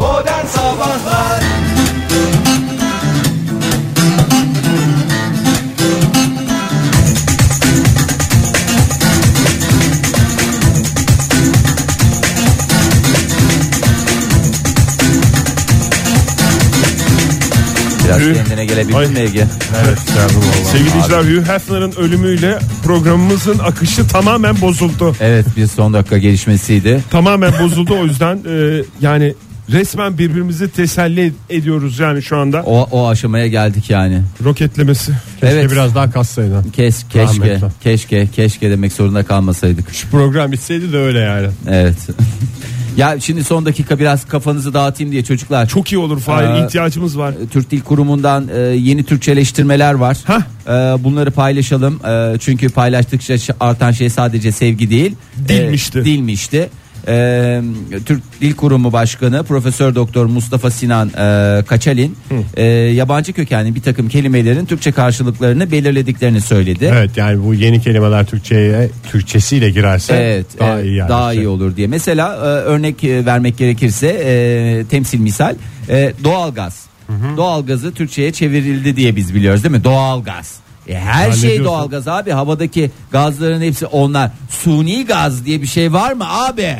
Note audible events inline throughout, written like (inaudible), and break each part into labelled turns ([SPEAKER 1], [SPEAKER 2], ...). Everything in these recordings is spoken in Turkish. [SPEAKER 1] Modern Sabahlar
[SPEAKER 2] Biraz
[SPEAKER 3] Üh.
[SPEAKER 2] kendine gelebildin
[SPEAKER 3] Ay.
[SPEAKER 2] mi Ege?
[SPEAKER 3] Evet. Sevgili dinleyiciler Hugh Hefner'ın ölümüyle programımızın akışı tamamen bozuldu.
[SPEAKER 2] Evet bir son dakika gelişmesiydi.
[SPEAKER 3] Tamamen bozuldu o yüzden e, yani resmen birbirimizi teselli ediyoruz yani şu anda.
[SPEAKER 2] O, o aşamaya geldik yani.
[SPEAKER 3] Roketlemesi.
[SPEAKER 2] evet.
[SPEAKER 4] biraz daha kassaydın.
[SPEAKER 2] Kes, keşke,
[SPEAKER 4] Rahmetli.
[SPEAKER 2] keşke, keşke demek zorunda kalmasaydık.
[SPEAKER 4] Şu program bitseydi de öyle yani.
[SPEAKER 2] Evet. (laughs) ya şimdi son dakika biraz kafanızı dağıtayım diye çocuklar.
[SPEAKER 3] Çok iyi olur Fahir
[SPEAKER 2] Ee,
[SPEAKER 3] ihtiyacımız var.
[SPEAKER 2] Türk Dil Kurumu'ndan e, yeni Türkçeleştirmeler var.
[SPEAKER 3] Hah.
[SPEAKER 2] E, bunları paylaşalım. E, çünkü paylaştıkça ş- artan şey sadece sevgi değil.
[SPEAKER 3] Dilmişti.
[SPEAKER 2] E, dilmişti. E, Türk Dil Kurumu Başkanı Profesör Doktor Mustafa Sinan e, Kaçalin e, yabancı kökenli bir takım kelimelerin Türkçe karşılıklarını belirlediklerini söyledi.
[SPEAKER 4] Evet yani bu yeni kelimeler Türkçe'ye Türkçesiyle girerse
[SPEAKER 2] Evet,
[SPEAKER 4] daha
[SPEAKER 2] evet,
[SPEAKER 4] iyi yani. şey.
[SPEAKER 2] daha iyi olur diye. Mesela e, örnek e, vermek gerekirse e, temsil misal e, doğalgaz. Doğalgazı Türkçe'ye çevirildi diye biz biliyoruz değil mi? Doğalgaz. E, her şey
[SPEAKER 4] Zannediyorsun.
[SPEAKER 2] doğalgaz abi. Havadaki gazların hepsi onlar. Suni gaz diye bir şey var mı abi?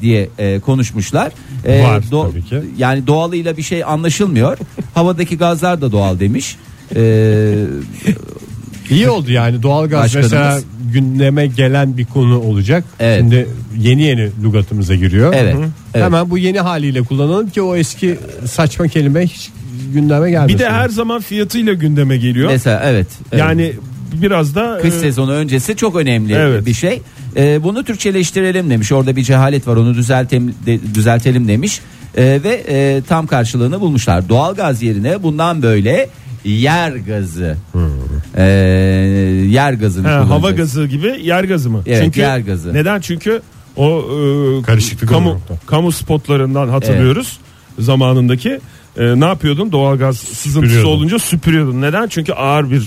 [SPEAKER 2] diye e, konuşmuşlar. E,
[SPEAKER 4] Var tabii ki.
[SPEAKER 2] Yani doğalıyla bir şey anlaşılmıyor. Havadaki gazlar da doğal demiş. E,
[SPEAKER 4] İyi oldu yani doğalgaz
[SPEAKER 2] Başkanımız.
[SPEAKER 4] mesela gündeme gelen bir konu olacak.
[SPEAKER 2] Evet.
[SPEAKER 4] Şimdi yeni yeni lügatımıza giriyor.
[SPEAKER 2] Evet,
[SPEAKER 4] Hı hı.
[SPEAKER 2] evet.
[SPEAKER 4] Hemen bu yeni haliyle kullanalım ki o eski saçma kelime hiç gündeme gelmesin.
[SPEAKER 3] Bir de her zaman fiyatıyla gündeme geliyor.
[SPEAKER 2] mesela evet. evet.
[SPEAKER 3] Yani biraz da
[SPEAKER 2] Kış
[SPEAKER 3] e,
[SPEAKER 2] sezonu öncesi çok önemli
[SPEAKER 3] Evet.
[SPEAKER 2] bir şey. Ee, bunu Türkçeleştirelim demiş. Orada bir cehalet var onu düzeltelim, de- düzeltelim demiş. Ee, ve e, tam karşılığını bulmuşlar. Doğalgaz yerine bundan böyle yer gazı.
[SPEAKER 4] Hmm.
[SPEAKER 2] Ee, yer gazını
[SPEAKER 3] He, hava
[SPEAKER 2] kullanacağız.
[SPEAKER 3] gazı gibi yer gazı mı?
[SPEAKER 2] Evet, yer gazı.
[SPEAKER 3] Neden? Çünkü o e,
[SPEAKER 4] Karışıklık
[SPEAKER 3] kamu
[SPEAKER 4] oluyor orada.
[SPEAKER 3] kamu spotlarından hatırlıyoruz zamanındaki. E, ne yapıyordun? Doğalgaz sızıntısı
[SPEAKER 4] Süpürüyordun.
[SPEAKER 3] olunca süpürüyordun. Neden? Çünkü ağır bir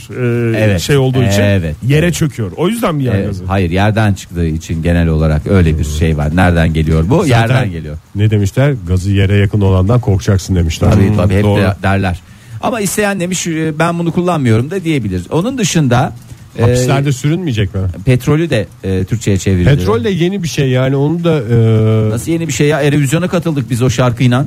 [SPEAKER 3] e,
[SPEAKER 2] Evet,
[SPEAKER 3] şey olduğu için
[SPEAKER 2] evet.
[SPEAKER 3] yere çöküyor. O yüzden mi yer
[SPEAKER 2] Ee,
[SPEAKER 3] gazı?
[SPEAKER 2] hayır yerden çıktığı için genel olarak öyle bir şey var. Nereden geliyor bu?
[SPEAKER 4] Zaten
[SPEAKER 2] yerden geliyor.
[SPEAKER 4] Ne demişler? Gazı yere yakın olandan korkacaksın demişler.
[SPEAKER 2] Tabii
[SPEAKER 4] Hmm,
[SPEAKER 2] tabii hep
[SPEAKER 4] doğru.
[SPEAKER 2] de derler. Ama isteyen demiş e, ben bunu kullanmıyorum da diyebilir. Onun dışında e,
[SPEAKER 4] Hapislerde sürünmeyecek mi?
[SPEAKER 2] petrolü de e, Türkçe'ye çevirildi.
[SPEAKER 4] Petrol de yeni bir şey yani onu da e,
[SPEAKER 2] Nasıl yeni bir şey ya? Erevizyona katıldık biz o şarkıyla.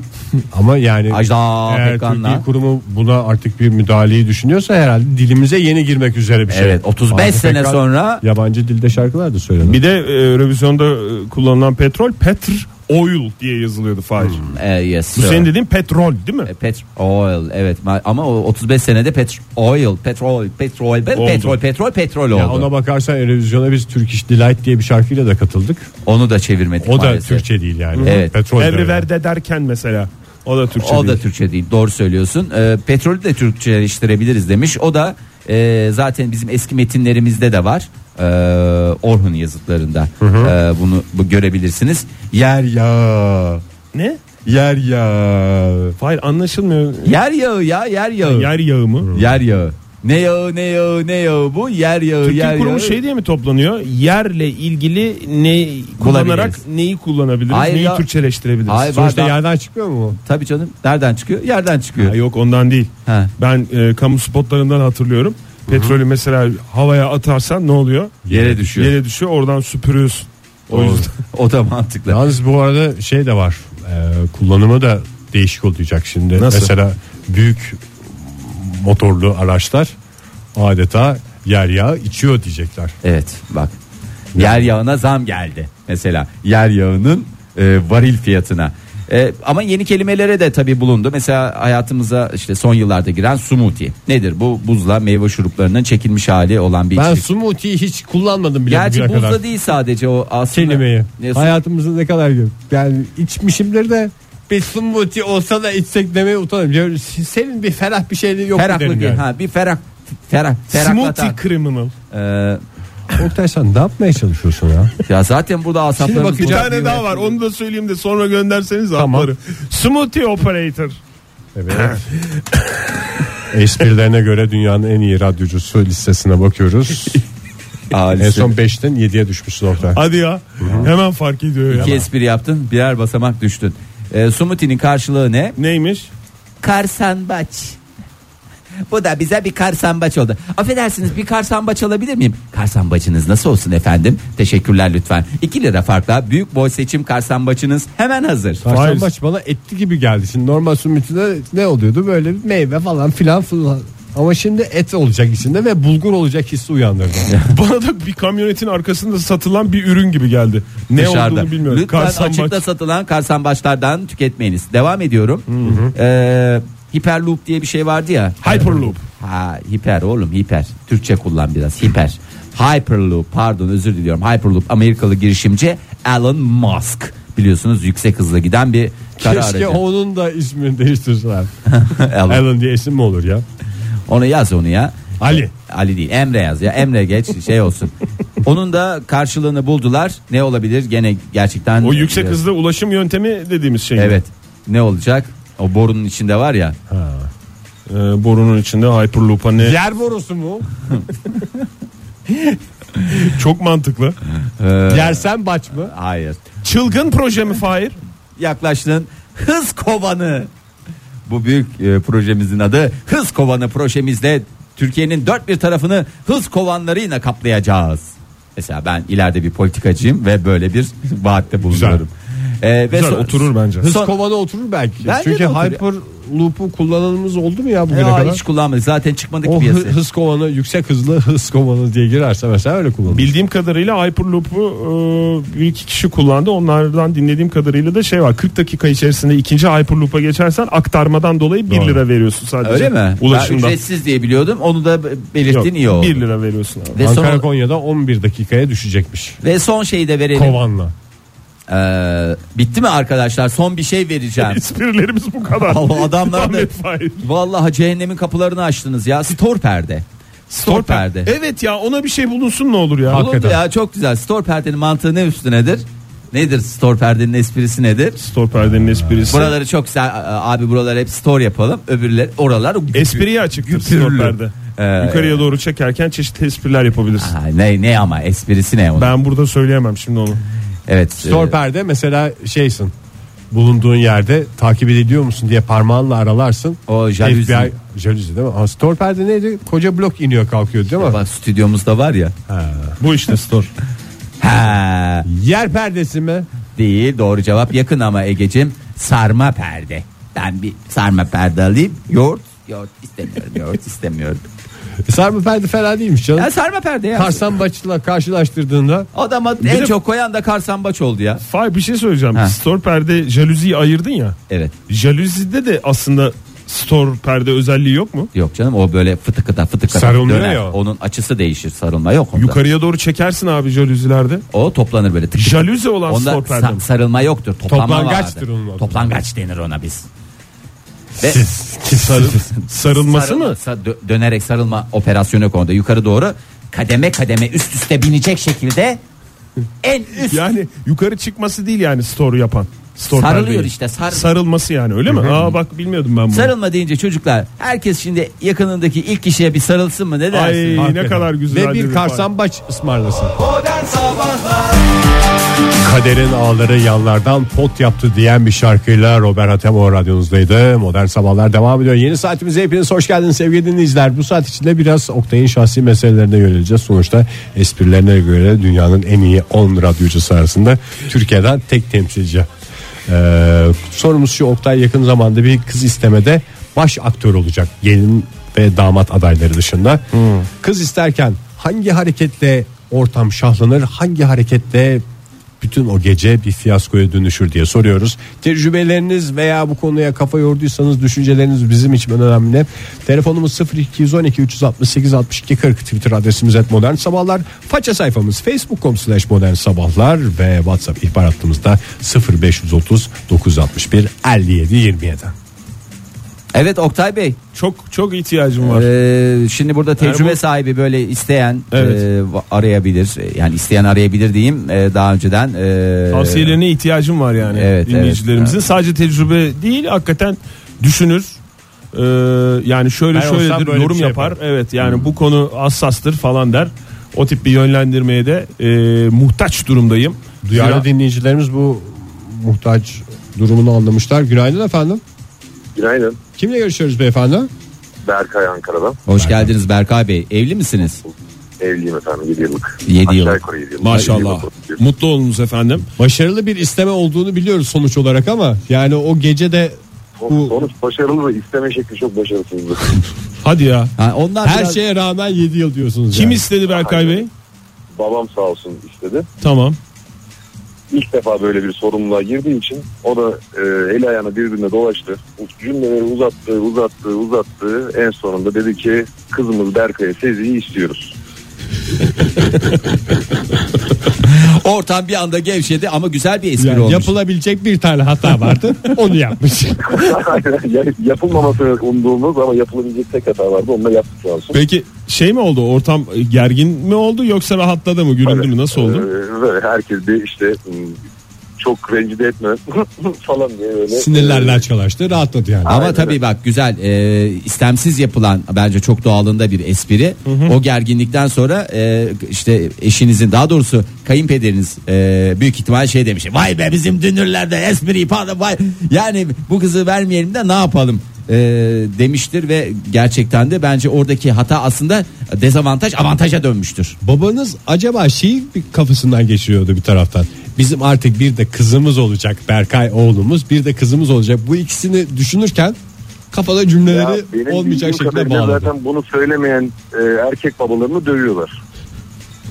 [SPEAKER 4] ama yani
[SPEAKER 2] Ajda
[SPEAKER 4] eğer Türk
[SPEAKER 2] Pekkan'la.
[SPEAKER 4] Dil Kurumu buna artık bir müdahaleyi düşünüyorsa herhalde dilimize yeni girmek üzere bir şey.
[SPEAKER 2] Evet, 35
[SPEAKER 4] Ajda
[SPEAKER 2] sene
[SPEAKER 4] Pekkan
[SPEAKER 2] sonra-
[SPEAKER 4] yabancı dilde şarkılar da söylenir.
[SPEAKER 3] Bir de e, revizyonda e, kullanılan petrol petr oil diye yazılıyordu Fahir.
[SPEAKER 2] E, yes,
[SPEAKER 3] Bu
[SPEAKER 2] sir.
[SPEAKER 3] senin dediğin petrol değil mi?
[SPEAKER 2] E, Petrol evet Ma- ama o 35 senede petrol petrol petrol pe-
[SPEAKER 3] Oldu.
[SPEAKER 2] petrol petrol petrol oldu.
[SPEAKER 4] Ya ona bakarsan Erevizyon'a biz Turkish Delight diye bir şarkıyla da katıldık.
[SPEAKER 2] Onu da çevirmedik
[SPEAKER 4] O da
[SPEAKER 2] maalesef.
[SPEAKER 4] Türkçe değil yani.
[SPEAKER 2] Evet.
[SPEAKER 4] Petrol de öyle.
[SPEAKER 3] Everywhere'de derken mesela o da Türkçe
[SPEAKER 2] O da
[SPEAKER 3] değil.
[SPEAKER 2] Türkçe değil doğru söylüyorsun. E, petrolü de Türkçeleştirebiliriz demiş. O da e, zaten bizim eski metinlerimizde de var. E, Orhun yazıtlarında E, bunu bu, görebilirsiniz. Yer yağı.
[SPEAKER 3] Ne?
[SPEAKER 2] Yer yağı.
[SPEAKER 3] Fahir anlaşılmıyor.
[SPEAKER 2] Yer yağı ya yer yağı.
[SPEAKER 3] Yer yağı
[SPEAKER 4] Hmm.
[SPEAKER 3] mı?
[SPEAKER 2] Yer yağı. Ne yağı ne yağı ne yağı bu yer yağı
[SPEAKER 3] Türk
[SPEAKER 2] yer
[SPEAKER 3] Dil Kurumu
[SPEAKER 2] yağı.
[SPEAKER 3] şey diye mi toplanıyor? Yerle ilgili ne kullanarak neyi kullanabiliriz?
[SPEAKER 2] Hayır
[SPEAKER 3] neyi
[SPEAKER 2] ya.
[SPEAKER 3] Türkçeleştirebiliriz?
[SPEAKER 2] Hayır,
[SPEAKER 3] Sonuçta-
[SPEAKER 4] Sonuçta
[SPEAKER 2] Adam-
[SPEAKER 4] yerden çıkmıyor mu? o?
[SPEAKER 2] Tabii canım nereden çıkıyor? Yerden çıkıyor.
[SPEAKER 3] Ha, yok ondan değil.
[SPEAKER 2] Ha.
[SPEAKER 3] Ben e, kamu spotlarından hatırlıyorum. Petrolü mesela havaya atarsan ne oluyor?
[SPEAKER 2] Yere düşüyor.
[SPEAKER 3] Yere düşüyor oradan süpürüyorsun. O yüzden.
[SPEAKER 2] (laughs) O da mantıklı.
[SPEAKER 4] (laughs) Yalnız bu arada şey de var. Ee, kullanımı da değişik olacak şimdi.
[SPEAKER 3] Nasıl?
[SPEAKER 4] Mesela büyük motorlu araçlar adeta yer yağı içiyor diyecekler.
[SPEAKER 2] Evet bak. Yer yağına zam geldi. Mesela yer yağının e, varil fiyatına. E, ama yeni kelimelere de tabi bulundu. Mesela hayatımıza işte son yıllarda giren smoothie. Nedir bu? Buzla meyve şuruplarının çekilmiş hali olan bir
[SPEAKER 4] Ben
[SPEAKER 2] içecek.
[SPEAKER 4] smoothie'yi hiç kullanmadım bile
[SPEAKER 2] Gerçi
[SPEAKER 4] bugüne
[SPEAKER 2] buzla
[SPEAKER 4] kadar.
[SPEAKER 2] değil sadece o aslında.
[SPEAKER 4] Kelimeyi.
[SPEAKER 2] Ne,
[SPEAKER 4] Hayatımızda ne kadar gör. Yani içmişimdir de bir smoothie olsa da içsek demeye utanırım. Ya Senin bir ferah bir şeyin yok mu
[SPEAKER 2] Ferahlı
[SPEAKER 4] derim
[SPEAKER 2] bir,
[SPEAKER 4] yani.
[SPEAKER 2] ha, bir ferah, ferah, ferahlatan.
[SPEAKER 3] Smoothie criminal.
[SPEAKER 2] Ee,
[SPEAKER 4] Oktay sen ne yapmaya çalışıyorsun ya?
[SPEAKER 2] ya zaten burada asaplarımız
[SPEAKER 3] Bir
[SPEAKER 4] bakacağım.
[SPEAKER 3] tane daha var onu da söyleyeyim de sonra gönderseniz atları. Smoothie operator.
[SPEAKER 4] Evet. (laughs) Esprilerine göre dünyanın en iyi radyocusu listesine (laughs) bakıyoruz.
[SPEAKER 2] Aa,
[SPEAKER 4] en son 5'ten 7'ye düşmüşsün Oktay.
[SPEAKER 3] Hadi ya hemen fark ediyor ya.
[SPEAKER 2] İki espri yaptın birer basamak düştün. E, Sumuti'nin karşılığı ne?
[SPEAKER 3] Neymiş? (laughs)
[SPEAKER 2] Karsambaç. Bu da bize bir karsambaç oldu. Affedersiniz bir karsambaç alabilir miyim? Karsambaçınız nasıl olsun efendim? Teşekkürler lütfen. 2 lira farkla büyük boy seçim karsambaçınız hemen hazır.
[SPEAKER 4] Karşambaç bana etli gibi geldi. Şimdi normal sumitinde ne oluyordu? Böyle bir meyve falan filan filan. Ama şimdi et olacak içinde ve bulgur olacak hissi uyandırdı. (laughs)
[SPEAKER 3] Bana da bir kamyonetin arkasında satılan bir ürün gibi geldi. Ne
[SPEAKER 2] Dışarıda.
[SPEAKER 3] olduğunu bilmiyorum.
[SPEAKER 2] Lütfen
[SPEAKER 3] Karsambaç.
[SPEAKER 2] açıkta satılan karsambaçlardan tüketmeyiniz. Devam ediyorum. Ee, hiperloop diye bir şey vardı ya.
[SPEAKER 3] Hyperloop.
[SPEAKER 2] Ha hiper oğlum hiper. Türkçe kullan biraz hiper. Hyperloop pardon özür diliyorum. Hyperloop Amerikalı girişimci Elon Musk. Biliyorsunuz yüksek hızla giden bir kara
[SPEAKER 4] Keşke
[SPEAKER 2] aracı.
[SPEAKER 4] onun da ismini değiştirseler.
[SPEAKER 2] Elon.
[SPEAKER 4] Alan diye isim mi olur ya?
[SPEAKER 2] Onu yaz onu ya.
[SPEAKER 4] Ali.
[SPEAKER 2] Ali değil Emre yaz ya Emre geç şey olsun. Onun da karşılığını buldular. Ne olabilir? Gene gerçekten e,
[SPEAKER 3] O yüksek hızlı ulaşım yöntemi dediğimiz şey.
[SPEAKER 2] Evet. Ne olacak? O borunun içinde var ya.
[SPEAKER 3] Ee, borunun içinde Hyperloop'a ne?
[SPEAKER 4] Yer borusu mu?
[SPEAKER 3] Çok mantıklı.
[SPEAKER 4] Yersen baç mı?
[SPEAKER 2] Hayır.
[SPEAKER 3] Çılgın proje mi Fahir?
[SPEAKER 2] yaklaştın. Hız kovanı. Bu büyük e, projemizin adı Hız Kovanı projemizde Türkiye'nin dört bir tarafını hız kovanlarıyla kaplayacağız. Mesela ben ileride bir politikacıyım ve böyle bir (laughs) vaatte bulunuyorum. E, ve
[SPEAKER 3] Güzel,
[SPEAKER 2] son-
[SPEAKER 3] oturur bence.
[SPEAKER 4] Hız
[SPEAKER 2] Son-
[SPEAKER 4] kovanı oturur belki.
[SPEAKER 2] Bence
[SPEAKER 4] Çünkü
[SPEAKER 2] de oturur.
[SPEAKER 4] Hyperloop'u kullananımız oldu mu ya
[SPEAKER 2] E,
[SPEAKER 4] bugüne
[SPEAKER 2] aa,
[SPEAKER 4] kadar?
[SPEAKER 2] hiç kullanmadık. Zaten çıkmadı ki
[SPEAKER 4] (laughs) O hı-
[SPEAKER 2] piyasaya.
[SPEAKER 4] hız kovanı yüksek hızlı hız kovanı diye girerse mesela öyle kullanılır.
[SPEAKER 3] Bildiğim kadarıyla Hyperloop'u e, bir iki kişi kullandı. Onlardan dinlediğim kadarıyla da şey var. 40 dakika içerisinde ikinci Hyperloop'a geçersen aktarmadan dolayı 1
[SPEAKER 4] Doğru.
[SPEAKER 3] lira veriyorsun sadece.
[SPEAKER 2] Öyle mi? Ben
[SPEAKER 3] Ulaşımdan.
[SPEAKER 2] ücretsiz diye biliyordum. Onu da
[SPEAKER 3] Yok,
[SPEAKER 2] belirttin iyi oldu.
[SPEAKER 3] 1 lira veriyorsun abi.
[SPEAKER 2] Ve
[SPEAKER 4] Ankara
[SPEAKER 2] son,
[SPEAKER 4] Konya'da 11 dakikaya düşecekmiş.
[SPEAKER 2] ve son şeyi de verelim.
[SPEAKER 4] Kovanla.
[SPEAKER 2] Ee, bitti mi arkadaşlar? Son bir şey vereceğim.
[SPEAKER 3] (laughs) Esprilerimiz bu kadar.
[SPEAKER 2] Allah adamlar da-
[SPEAKER 3] Ahmet Fahir.
[SPEAKER 2] Vallahi cehennemin kapılarını açtınız ya. Stor perde. Stor perde.
[SPEAKER 3] Evet ya ona bir şey bulunsun ne olur ya.
[SPEAKER 2] Bulundu ya çok güzel. Stor perdenin mantığı ne üstü nedir? Nedir stor perdenin esprisi nedir?
[SPEAKER 3] Store perdenin esprisi.
[SPEAKER 2] Buraları çok güzel a- a- abi buraları hep store yapalım. Öbürler oralar
[SPEAKER 3] Espriye açıktır store perde.
[SPEAKER 2] Ee,
[SPEAKER 3] Yukarıya doğru çekerken çeşitli espriler yapabilirsin.
[SPEAKER 2] Ay, ne ne ama esprisi ne onun?
[SPEAKER 3] Ben burada söyleyemem şimdi onu.
[SPEAKER 2] Evet. e,
[SPEAKER 4] Storper'de mesela şeysin. Bulunduğun yerde takip ediliyor musun diye parmağınla aralarsın.
[SPEAKER 2] O jaluzi.
[SPEAKER 4] FBI jaluzi değil mi? Ha, Storper'de neydi? Koca blok iniyor kalkıyor değil mi?
[SPEAKER 2] bak stüdyomuzda var ya.
[SPEAKER 3] Bu işte store.
[SPEAKER 2] Ha
[SPEAKER 4] Yer perdesi mi?
[SPEAKER 2] değil doğru cevap yakın ama Egecim sarma perde. Ben bir sarma perde alayım. Yoğurt yoğurt istemiyorum yoğurt istemiyorum.
[SPEAKER 4] Sarma perde fena değilmiş canım.
[SPEAKER 2] Ya sarma perde ya.
[SPEAKER 4] Karsambaçla karşılaştırdığında
[SPEAKER 2] Adama en çok koyan da karsambaç oldu ya.
[SPEAKER 3] Fay bir şey söyleyeceğim.
[SPEAKER 2] Ha.
[SPEAKER 3] Store perde jaluziyi ayırdın ya.
[SPEAKER 2] Evet.
[SPEAKER 3] Jaluzide de aslında store perde özelliği yok mu?
[SPEAKER 2] Yok canım o böyle fıtıkıda fıtıkıda
[SPEAKER 3] Sarılmıyor
[SPEAKER 2] döner.
[SPEAKER 3] ya.
[SPEAKER 2] Onun açısı değişir sarılma yok onda.
[SPEAKER 3] Yukarıya doğru çekersin abi jaluzilerde.
[SPEAKER 2] O toplanır böyle tık tık.
[SPEAKER 3] Jaluzi olan
[SPEAKER 2] Onda
[SPEAKER 3] store perde
[SPEAKER 2] sa-
[SPEAKER 3] mi?
[SPEAKER 2] sarılma yoktur. Toplanma
[SPEAKER 4] Toplangaçtır
[SPEAKER 2] vardır.
[SPEAKER 4] onun adı.
[SPEAKER 2] Toplangaç denir ona biz. Ve
[SPEAKER 3] Sarıl- sarılması
[SPEAKER 2] sarılma-
[SPEAKER 3] mı?
[SPEAKER 2] sa- dö- dönerek sarılma operasyonu yok onda. Yukarı doğru kademe kademe üst üste binecek şekilde en üst
[SPEAKER 3] Yani yukarı çıkması değil yani store yapan. Store
[SPEAKER 2] Sarılıyor
[SPEAKER 3] perdeyi.
[SPEAKER 2] işte, sar-
[SPEAKER 3] Sarılması yani öyle mi? Aa bak bilmiyordum ben bunu.
[SPEAKER 2] sarılma deyince çocuklar herkes şimdi yakınındaki ilk kişiye bir sarılsın mı ne dersin?
[SPEAKER 3] Ay ne kadar güzel.
[SPEAKER 4] ve bir
[SPEAKER 3] fay.
[SPEAKER 4] karsambaç ısmarlasın. Kaderin ağları yanlardan pot yaptı diyen bir şarkıyla Robert Atemo radyonuzdaydı. Modern Sabahlar devam ediyor. Yeni saatimize hepiniz hoş geldiniz sevgili dinleyiciler. Bu saat içinde biraz Oktay'ın şahsi meselelerine yöneleceğiz. Sonuçta esprilerine göre dünyanın en iyi 10 radyocusu arasında Türkiye'den tek temsilci. Ee, sorumuz şu Oktay yakın zamanda bir kız istemede baş aktör olacak. Gelin ve damat adayları dışında. Kız isterken hangi hareketle ortam şahlanır, hangi hareketle bütün o gece bir fiyaskoya dönüşür diye soruyoruz. Tecrübeleriniz veya bu konuya kafa yorduysanız düşünceleriniz bizim için önemli. Telefonumuz 0212 368 62 40 Twitter adresimiz et modern sabahlar. Faça sayfamız facebook.com slash modern sabahlar ve whatsapp ihbar hattımızda 0530 961 57 27.
[SPEAKER 2] Evet Oktay Bey.
[SPEAKER 3] Çok çok ihtiyacım var.
[SPEAKER 2] Ee, şimdi burada tecrübe
[SPEAKER 3] bu-
[SPEAKER 2] sahibi böyle isteyen
[SPEAKER 3] Evet.
[SPEAKER 2] e, va- arayabilir. Yani isteyen arayabilir diyeyim e, daha önceden. e,
[SPEAKER 3] Tavsiyelerine ihtiyacım var yani
[SPEAKER 2] Evet,
[SPEAKER 3] dinleyicilerimizin. Sadece tecrübe değil hakikaten düşünür. Ee, yani şöyle
[SPEAKER 4] Ben olsam
[SPEAKER 3] şöyledir
[SPEAKER 4] böyle bir
[SPEAKER 3] yorum
[SPEAKER 4] şey
[SPEAKER 3] yapar. Evet yani bu konu hassastır falan der. O tip bir yönlendirmeye de e, muhtaç durumdayım.
[SPEAKER 4] Duyarlı
[SPEAKER 3] Zira-
[SPEAKER 4] dinleyicilerimiz bu muhtaç durumunu anlamışlar. Günaydın efendim.
[SPEAKER 5] Günaydın.
[SPEAKER 4] Kimle görüşüyoruz beyefendi?
[SPEAKER 5] Berkay Ankara'dan.
[SPEAKER 2] Hoş geldiniz Berkay Bey. Evli misiniz?
[SPEAKER 5] Evliyim efendim 7 yıllık.
[SPEAKER 2] Yedi
[SPEAKER 5] Aşağı
[SPEAKER 2] yıllık.
[SPEAKER 5] yukarı yedi yıllık.
[SPEAKER 6] Maşallah. Mutlu olunuz efendim.
[SPEAKER 4] Başarılı bir isteme olduğunu biliyoruz sonuç olarak ama yani o gece de
[SPEAKER 5] Bu...
[SPEAKER 4] bu
[SPEAKER 5] Sonuç başarılı da isteme şekli çok başarısızdı.
[SPEAKER 3] Hadi ya.
[SPEAKER 2] Ha, onlar
[SPEAKER 4] her
[SPEAKER 3] şey-
[SPEAKER 2] biraz-
[SPEAKER 4] şeye rağmen 7 yıl diyorsunuz.
[SPEAKER 3] Kim
[SPEAKER 4] yani.
[SPEAKER 3] istedi Berkay Bey?
[SPEAKER 5] Babam sağ olsun istedi.
[SPEAKER 3] Tamam.
[SPEAKER 5] İlk defa böyle bir sorumluluğa girdiği için o da e, eli ayağını birbirine dolaştı. Cümleleri uzattı, uzattı, uzattı. En sonunda dedi ki kızımız Berkay'a Sezi'yi istiyoruz. (laughs)
[SPEAKER 2] Ortam bir anda gevşedi ama güzel bir espri
[SPEAKER 4] Yani
[SPEAKER 2] olmuş.
[SPEAKER 4] yapılabilecek bir tane hata vardı. onu yapmış.
[SPEAKER 5] Yani Yapılmaması umduğumuz ama yapılabilecek tek hata vardı. Onu da yaptık sağ olsun.
[SPEAKER 3] Peki şey mi oldu? Ortam e, gergin mi oldu yoksa rahatladı mı? Gülündü mü? Nasıl oldu?
[SPEAKER 5] Ee, böyle herkes bir işte hmm, çok rencide etme (laughs) falan diye böyle.
[SPEAKER 4] Sinirlerle açkalaştı. Rahatladı yani.
[SPEAKER 2] Ama
[SPEAKER 5] Aynen
[SPEAKER 2] tabii bak güzel e, istemsiz yapılan bence çok doğalında bir espri. O gerginlikten sonra e, işte eşinizin daha doğrusu kayınpederiniz e, büyük ihtimal şey demiş. Vay be bizim dünürlerde espri falan vay. Yani bu kızı vermeyelim de ne yapalım e, demiştir ve gerçekten de bence oradaki hata aslında dezavantaj avantaja dönmüştür.
[SPEAKER 4] Babanız acaba şeyi bir kafasından geçiriyordu bir taraftan. Bizim artık bir de kızımız olacak Berkay oğlumuz bir de kızımız olacak. Bu ikisini düşünürken kafada
[SPEAKER 5] Ya
[SPEAKER 4] cümleleri
[SPEAKER 5] benim
[SPEAKER 4] olmayacak
[SPEAKER 5] bildiğim
[SPEAKER 4] şekilde
[SPEAKER 5] kadarıyla
[SPEAKER 4] bağladı.
[SPEAKER 5] Zaten bunu söylemeyen e, erkek babalarını dövüyorlar.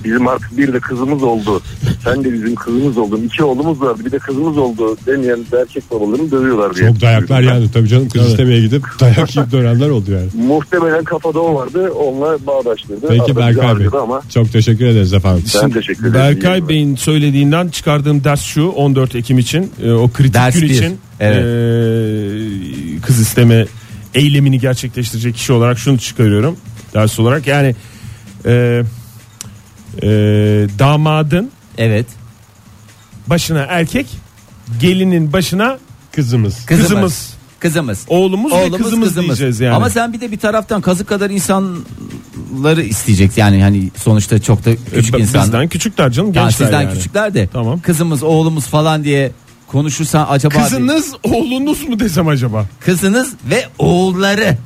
[SPEAKER 5] Bizim artık bir de kızımız oldu. Sen de bizim kızımız oldun. İki oğlumuz var bir de kızımız oldu demeyen de erkek babalarını dövüyorlar diye.
[SPEAKER 4] Çok dayaklar
[SPEAKER 5] düşünüyorum.
[SPEAKER 4] yani tabii canım kız istemeye (laughs) gidip dayak yiyip dönenler oldu yani.
[SPEAKER 5] Muhtemelen kafada o vardı. Onunla bağdaştırdı.
[SPEAKER 4] Peki
[SPEAKER 5] Arada bizi
[SPEAKER 4] Berkay Bey
[SPEAKER 5] harcadı Ama
[SPEAKER 4] çok teşekkür ederiz efendim.
[SPEAKER 5] ben teşekkür ederim.
[SPEAKER 3] Berkay Bey'in söylediğinden çıkardığım ders şu 14 Ekim için e, o kritik
[SPEAKER 2] Ders
[SPEAKER 3] gün
[SPEAKER 2] bir,
[SPEAKER 3] için
[SPEAKER 2] evet.
[SPEAKER 3] e, kız isteme eylemini gerçekleştirecek kişi olarak şunu çıkarıyorum ders olarak yani e, e, damadın
[SPEAKER 2] Evet.
[SPEAKER 3] başına erkek gelinin başına
[SPEAKER 4] Kızımız.
[SPEAKER 3] kızımız,
[SPEAKER 2] Kızımız.
[SPEAKER 3] oğlumuz, ve
[SPEAKER 2] Oğlumuz
[SPEAKER 3] kızımız, diyeceğiz yani.
[SPEAKER 2] Ama sen bir de bir taraftan kazık kadar insanları isteyeceksin. Yani hani sonuçta çok da
[SPEAKER 3] E,
[SPEAKER 2] küçük
[SPEAKER 3] b-
[SPEAKER 2] insan.
[SPEAKER 3] bizden küçükler canım
[SPEAKER 2] Ya
[SPEAKER 3] gençler
[SPEAKER 2] sizden
[SPEAKER 3] yani.
[SPEAKER 2] küçükler de.
[SPEAKER 3] Tamam.
[SPEAKER 2] Kızımız, oğlumuz falan diye konuşursan acaba
[SPEAKER 3] Kızınız oğlunuz mu desem acaba?
[SPEAKER 2] kızınız ve oğulları,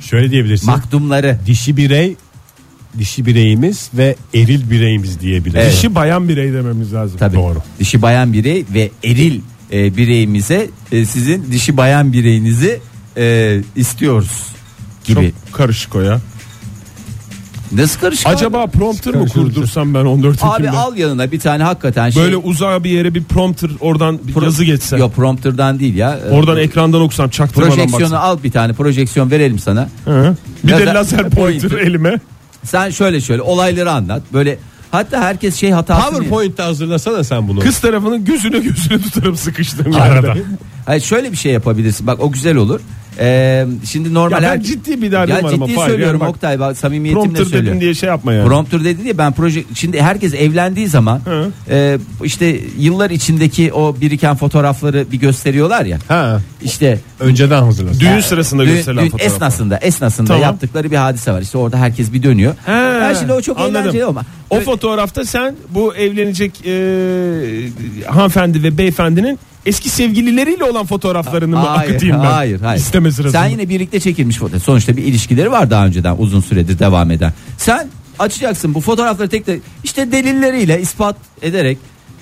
[SPEAKER 4] Şöyle diyebilirsin.
[SPEAKER 2] makdumları.
[SPEAKER 4] dişi birey dişi bireyimiz ve eril bireyimiz diyebiliriz.
[SPEAKER 2] Evet.
[SPEAKER 3] Kişi bayan birey dememiz lazım.
[SPEAKER 2] Tabii.
[SPEAKER 4] Doğru.
[SPEAKER 2] Dişi bayan birey ve eril e, bireyimize e, sizin dişi bayan bireyinizi e, istiyoruz gibi.
[SPEAKER 3] Çok karışık o ya.
[SPEAKER 2] Nasıl karışık? abi?
[SPEAKER 3] Acaba prompter mı
[SPEAKER 4] Karışık.
[SPEAKER 3] kurdursam ben 14 Ekim'de?
[SPEAKER 2] abi al yanına bir tane hakikaten şey.
[SPEAKER 3] Böyle uzağa bir yere bir prompter oradan bir
[SPEAKER 2] pro-
[SPEAKER 3] yazı geçse.
[SPEAKER 2] Yok prompter'dan değil ya. E,
[SPEAKER 3] Oradan ekrandan okusam çaktırmadan
[SPEAKER 2] Projeksiyonu
[SPEAKER 3] baksam.
[SPEAKER 2] al bir tane projeksiyon verelim sana.
[SPEAKER 3] Hı. Bir de
[SPEAKER 2] Lazer-
[SPEAKER 3] lazer pointer
[SPEAKER 2] pointer.
[SPEAKER 3] elime.
[SPEAKER 2] Sen şöyle şöyle olayları anlat. Böyle hatta herkes şey hatası
[SPEAKER 4] PowerPoint'te hazırlasana sen bunu.
[SPEAKER 3] Kız tarafının gözüne gözüne tutarım sıkıştığım
[SPEAKER 4] Arada.
[SPEAKER 3] yerde.
[SPEAKER 2] Hayır, şöyle bir şey yapabilirsin. Bak o güzel olur. Ee, şimdi normal
[SPEAKER 3] Ya ben
[SPEAKER 2] her-
[SPEAKER 3] ciddi bir derdim
[SPEAKER 2] Ya
[SPEAKER 3] var ama
[SPEAKER 2] ciddi
[SPEAKER 3] Fahir,
[SPEAKER 2] söylüyorum
[SPEAKER 3] yani bak,
[SPEAKER 2] Oktay bak samimiyetimle
[SPEAKER 3] Prompter
[SPEAKER 2] söylüyorum.
[SPEAKER 3] dedim diye şey yapma yani.
[SPEAKER 2] Prompter dedi diye ben proje şimdi herkes evlendiği zaman
[SPEAKER 3] Hı.
[SPEAKER 2] e, işte yıllar içindeki o biriken fotoğrafları bir gösteriyorlar ya.
[SPEAKER 4] Ha.
[SPEAKER 2] İşte
[SPEAKER 4] Önceden hazırlasın.
[SPEAKER 3] Düğün sırasında
[SPEAKER 2] Düğün-
[SPEAKER 3] gösterilen
[SPEAKER 2] düğün
[SPEAKER 3] fotoğraf.
[SPEAKER 2] esnasında esnasında
[SPEAKER 3] Tamam.
[SPEAKER 2] yaptıkları bir hadise var. İşte orada herkes bir dönüyor.
[SPEAKER 3] He,
[SPEAKER 2] Ha, şimdi o çok
[SPEAKER 3] anladım.
[SPEAKER 2] eğlenceli ama.
[SPEAKER 3] O fotoğrafta sen bu evlenecek e, hanımefendi ve beyefendinin eski sevgilileriyle olan fotoğraflarını mı akıtayım ben?
[SPEAKER 2] Hayır, hayır.
[SPEAKER 3] İsteme sırasında.
[SPEAKER 2] Sen yine birlikte çekilmiş fotoğraf. Sonuçta bir ilişkileri var daha önceden uzun süredir devam eden. Sen açacaksın bu fotoğrafları tek tek işte delilleriyle ispat ederek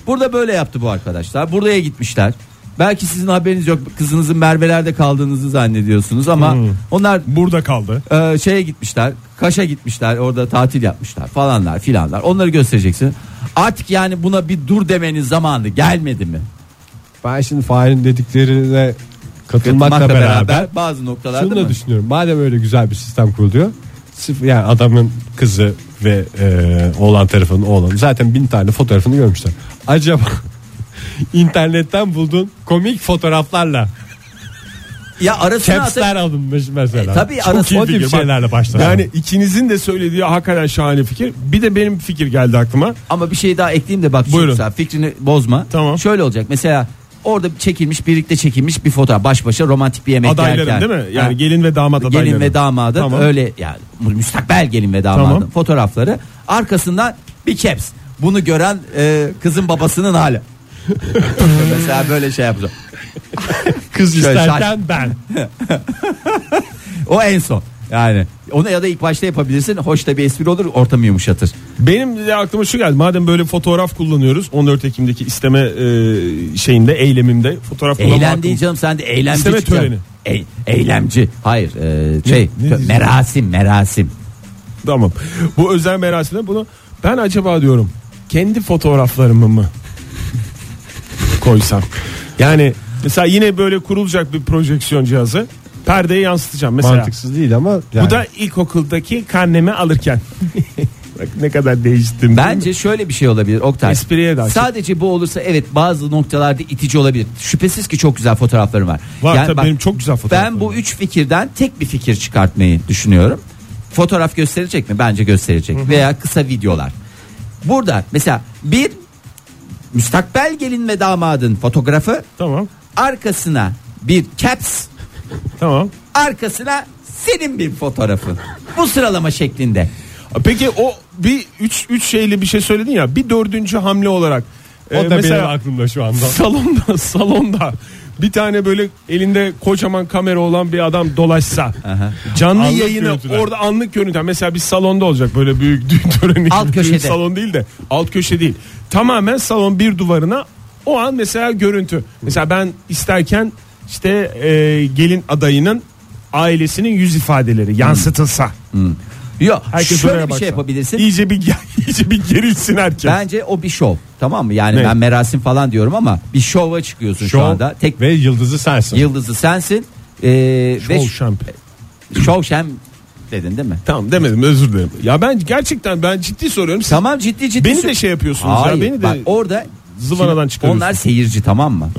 [SPEAKER 2] burada böyle yaptı bu arkadaşlar. Buraya gitmişler. Belki sizin haberiniz yok. Kızınızın Merve'lerde kaldığınızı zannediyorsunuz ama onlar
[SPEAKER 3] Burada kaldı.
[SPEAKER 2] e, şeye gitmişler. Kaş'a gitmişler. Orada tatil yapmışlar falanlar filanlar. Onları göstereceksin. Artık yani buna bir dur demenin zamanı gelmedi mi?
[SPEAKER 4] Ben şimdi Fahir'in dediklerine katılmakla
[SPEAKER 2] Katılmakla
[SPEAKER 4] beraber,
[SPEAKER 2] bazı noktalarda
[SPEAKER 4] şunu da
[SPEAKER 2] mı?
[SPEAKER 4] düşünüyorum. Madem öyle güzel bir sistem kuruluyor. Sıfır, yani adamın kızı ve e, oğlan tarafının oğlanı zaten bin tane fotoğrafını görmüşler. Acaba (laughs) internetten bulduğun komik fotoğraflarla
[SPEAKER 2] Ya arasına ata-
[SPEAKER 4] capsler alınmış mesela.
[SPEAKER 2] E, tabii
[SPEAKER 4] Çok
[SPEAKER 2] arası-
[SPEAKER 4] iyi
[SPEAKER 2] o
[SPEAKER 4] fikir.
[SPEAKER 2] tip
[SPEAKER 4] şeylerle başlar.
[SPEAKER 3] Yani ikinizin de söylediği hakikaten şahane fikir. Bir de benim fikir geldi aklıma.
[SPEAKER 2] Ama bir şey daha ekleyeyim de bak çok
[SPEAKER 3] Buyurun.
[SPEAKER 2] güzel. fikrini bozma.
[SPEAKER 3] Tamam.
[SPEAKER 2] Şöyle olacak mesela orada çekilmiş birlikte çekilmiş bir fotoğraf baş başa romantik bir yemek
[SPEAKER 3] Adayların
[SPEAKER 2] yerken.
[SPEAKER 3] değil mi? Yani
[SPEAKER 2] Ha.
[SPEAKER 3] gelin ve damat adayları.
[SPEAKER 2] Gelin ve damadı
[SPEAKER 3] Tamam.
[SPEAKER 2] öyle yani müstakbel gelin ve damadın
[SPEAKER 3] Tamam.
[SPEAKER 2] fotoğrafları arkasından bir caps.
[SPEAKER 3] (laughs)
[SPEAKER 2] Bunu gören e, kızın babasının hali. mesela böyle şey yapacak.
[SPEAKER 7] Kız
[SPEAKER 2] Şöyle şaş-
[SPEAKER 7] isterken ben.
[SPEAKER 2] O en son. Yani onu ya da ilk başta yapabilirsin. Hoş da bir espri olur ortamı yumuşatır.
[SPEAKER 3] Benim de aklıma şu geldi. Madem böyle fotoğraf kullanıyoruz 14 Ekim'deki isteme e, şeyimde eylemimde fotoğraf kullanma
[SPEAKER 2] Eylem
[SPEAKER 3] hakkım-
[SPEAKER 2] değil canım sen de eylemci
[SPEAKER 3] İsteme
[SPEAKER 2] çıkacaksın. E- eylemci. Hayır e, şey
[SPEAKER 3] ne diyeceğim?
[SPEAKER 2] merasim merasim.
[SPEAKER 3] Tamam. Bu özel merasimde bunu ben acaba diyorum kendi fotoğraflarımı mı koysam? Yani mesela yine böyle kurulacak bir projeksiyon cihazı perdeye yansıtacağım mesela.
[SPEAKER 4] Mantıksız değil ama yani.
[SPEAKER 3] Bu da ilkokuldaki karnemi alırken. (laughs) Bak ne kadar değiştim.
[SPEAKER 2] Bence şöyle bir şey olabilir Oktay.
[SPEAKER 3] Espriye daha çok.
[SPEAKER 2] Sadece bu olursa evet bazı noktalarda itici olabilir. Şüphesiz ki çok güzel fotoğraflarım var.
[SPEAKER 3] Var
[SPEAKER 2] Yani
[SPEAKER 3] tabii
[SPEAKER 2] bak,
[SPEAKER 3] benim çok güzel fotoğraflarım.
[SPEAKER 2] Ben bu üç fikirden tek bir fikir çıkartmayı düşünüyorum. Fotoğraf gösterecek mi? Bence gösterecek. Veya kısa videolar. Burada mesela bir müstakbel gelin ve damadın fotoğrafı
[SPEAKER 3] Tamam.
[SPEAKER 2] arkasına bir caps
[SPEAKER 3] Tamam.
[SPEAKER 2] arkasına senin bir fotoğrafın. Bu sıralama şeklinde.
[SPEAKER 3] E Peki o bir üç, üç şeyli bir şey söyledin ya bir dördüncü hamle olarak.
[SPEAKER 4] o
[SPEAKER 3] e,
[SPEAKER 4] da benim aklımda şu anda.
[SPEAKER 3] (laughs) salonda salonda bir tane böyle elinde kocaman kamera olan bir adam dolaşsa canlı
[SPEAKER 4] Anlık
[SPEAKER 3] yayını
[SPEAKER 4] görüntüler.
[SPEAKER 3] orada anlık görüntü mesela bir salonda olacak böyle büyük (laughs) düğün töreni
[SPEAKER 2] Alt
[SPEAKER 3] gibi
[SPEAKER 2] köşede.
[SPEAKER 3] büyük salon değil de alt köşe değil tamamen salon bir duvarına o an mesela görüntü mesela ben isterken işte e, gelin adayının ailesinin yüz
[SPEAKER 2] Hmm.
[SPEAKER 3] ifadeleri yansıtılsa
[SPEAKER 2] Yok
[SPEAKER 3] Herkes oraya
[SPEAKER 2] şöyle bir
[SPEAKER 3] baksa.
[SPEAKER 2] şey yapabilirsin.
[SPEAKER 3] iyice bir (laughs) iyice bir gerilsin herkes
[SPEAKER 2] Bence o bir şov. Tamam mı? Yani
[SPEAKER 3] Ne?
[SPEAKER 2] ben merasim falan diyorum ama bir şova çıkıyorsun şu
[SPEAKER 4] Şov
[SPEAKER 2] anda. Tek
[SPEAKER 4] Ve yıldızı sensin.
[SPEAKER 2] yıldızı sensin. Ee, ve
[SPEAKER 3] Şov şamp.
[SPEAKER 2] şov şem dedin değil mi?
[SPEAKER 3] E, Tamam demedim özür dilerim. Ya ben gerçekten ben ciddi soruyorum. Siz
[SPEAKER 2] Tamam ciddi ciddi.
[SPEAKER 3] Beni
[SPEAKER 2] sor-
[SPEAKER 3] de şey yapıyorsunuz
[SPEAKER 2] Hayır,
[SPEAKER 3] ya. Beni de
[SPEAKER 2] bak orada
[SPEAKER 3] zıvanadan
[SPEAKER 2] Şimdi
[SPEAKER 3] çıkarıyorsun.
[SPEAKER 2] Onlar seyirci tamam mı?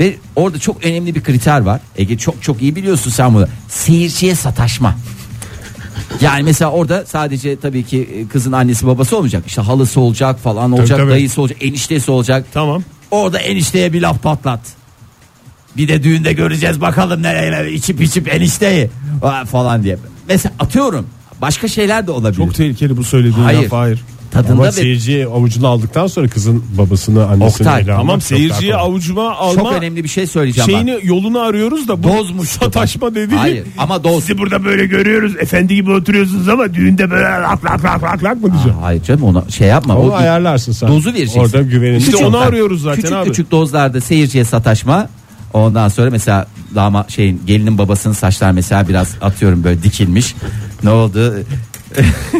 [SPEAKER 2] Ve orada çok önemli bir kriter var. Ege çok çok iyi biliyorsun sen bunu. Seyirciye sataşma. Yani mesela orada sadece tabii ki e, kızın annesi babası olmayacak. İşte halısı olacak falan olacak,
[SPEAKER 4] tabii.
[SPEAKER 2] dayısı olacak, eniştesi olacak.
[SPEAKER 3] Tamam.
[SPEAKER 2] Orada enişteye bir laf patlat. Bir de düğünde göreceğiz bakalım nereye içip içip enişteyi ha, falan diye. Mesela atıyorum. Başka şeyler de olabilir.
[SPEAKER 3] Çok tehlikeli bu söylediğin
[SPEAKER 2] Hayır.
[SPEAKER 3] laf hayır.
[SPEAKER 2] Tadında
[SPEAKER 4] Ama
[SPEAKER 2] ve
[SPEAKER 4] seyirciyi avucuna aldıktan sonra kızın babasını annesini
[SPEAKER 2] Oktay,
[SPEAKER 4] ele almak
[SPEAKER 3] Tamam
[SPEAKER 4] çok daha
[SPEAKER 3] seyirciyi
[SPEAKER 4] kolay.
[SPEAKER 3] avucuma
[SPEAKER 2] çok
[SPEAKER 3] alma
[SPEAKER 2] önemli bir şey söyleyeceğim. bak.
[SPEAKER 3] şeyini yolunu arıyoruz da bu
[SPEAKER 2] Dozmuş.
[SPEAKER 3] sataşma dediği.
[SPEAKER 2] Hayır ama doz.
[SPEAKER 3] Sizi (laughs) burada böyle görüyoruz. Efendi gibi oturuyorsunuz ama düğünde böyle lak lak lak lak lak mı diyeceğim?
[SPEAKER 2] Hayır canım ona şey yapma.
[SPEAKER 4] Onu
[SPEAKER 2] O-
[SPEAKER 4] ayarlarsın sen.
[SPEAKER 2] Dozu vereceksin.
[SPEAKER 4] Orada güvenini.
[SPEAKER 3] İşte
[SPEAKER 4] çok-
[SPEAKER 3] onu arıyoruz zaten
[SPEAKER 2] küçük
[SPEAKER 3] abi.
[SPEAKER 2] küçük dozlarda seyirciye sataşma. Ondan sonra mesela dama şeyin gelinin babasının saçlar mesela biraz atıyorum böyle dikilmiş. Ne oldu?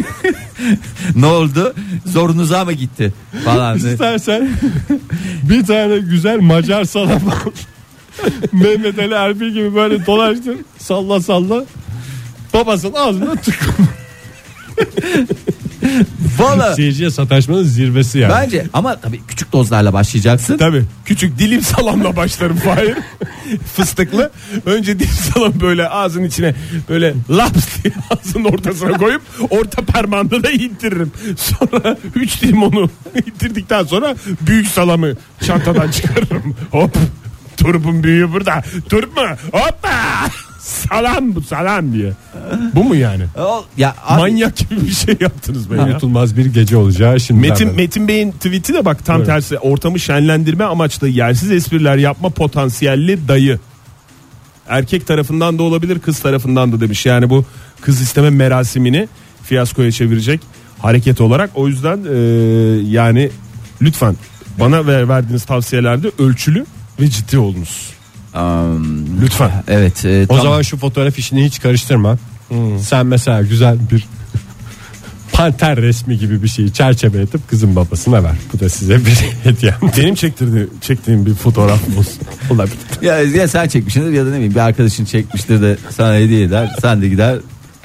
[SPEAKER 2] (laughs) ne oldu? Zorunuza mı gitti falan.
[SPEAKER 4] İstersen bir tane güzel Macar salam al. Mehmet Ali Erbil gibi böyle dolaştın salla salla babasının ağzına tık.
[SPEAKER 2] Valla
[SPEAKER 3] Şey-
[SPEAKER 4] Seyirciye sataşmanın zirvesi yani.
[SPEAKER 2] bence ama tabii küçük dozlarla başlayacaksın.
[SPEAKER 3] Tabii. Küçük dilim salamla başlarım Fahir. Fıstıklı. Önce dilim salam böyle ağzın içine böyle laps diye ağzın ortasına koyup orta parmağında da ittiririm. Sonra üç dilim onu ittirdikten sonra büyük salamı çantadan çıkarırım. Hop. Turpun büyüğü burada. Turp mu? Hoppa. Salam bu salam diye. Bu mu yani?
[SPEAKER 2] O- Ya abi,
[SPEAKER 3] Manyak gibi bir şey yaptınız be (laughs) ya.
[SPEAKER 4] unutulmaz bir gece olacağı şimdi.
[SPEAKER 3] Metin Metin Bey'in tweet'i de bak tam
[SPEAKER 4] Buyurun.
[SPEAKER 3] tersi ortamı şenlendirme amaçlı yersiz espriler yapma potansiyelli dayı. Erkek tarafından da olabilir kız tarafından da demiş. Yani bu kız isteme merasimini fiyaskoya çevirecek hareket olarak. O yüzden e, yani lütfen bana ver, verdiğiniz tavsiyelerde ölçülü ve ciddi olunuz.
[SPEAKER 2] Am,
[SPEAKER 3] Lütfen.
[SPEAKER 2] evet. e,
[SPEAKER 4] o
[SPEAKER 2] tam-
[SPEAKER 4] zaman şu fotoğraf işini hiç karıştırma.
[SPEAKER 3] Hmm.
[SPEAKER 4] Sen mesela güzel bir (laughs) panter resmi gibi bir şeyi çerçeve edip kızın babasına ver. Bu da size bir (laughs) hediye.
[SPEAKER 3] Benim çektirdiğim, çektiğim bir fotoğraf
[SPEAKER 4] (laughs)
[SPEAKER 3] mı olsun? olabilir.
[SPEAKER 2] Ya, ya sen çekmişsindir ya da ne bileyim bir arkadaşın çekmiştir de sana hediye eder. Sen de gider.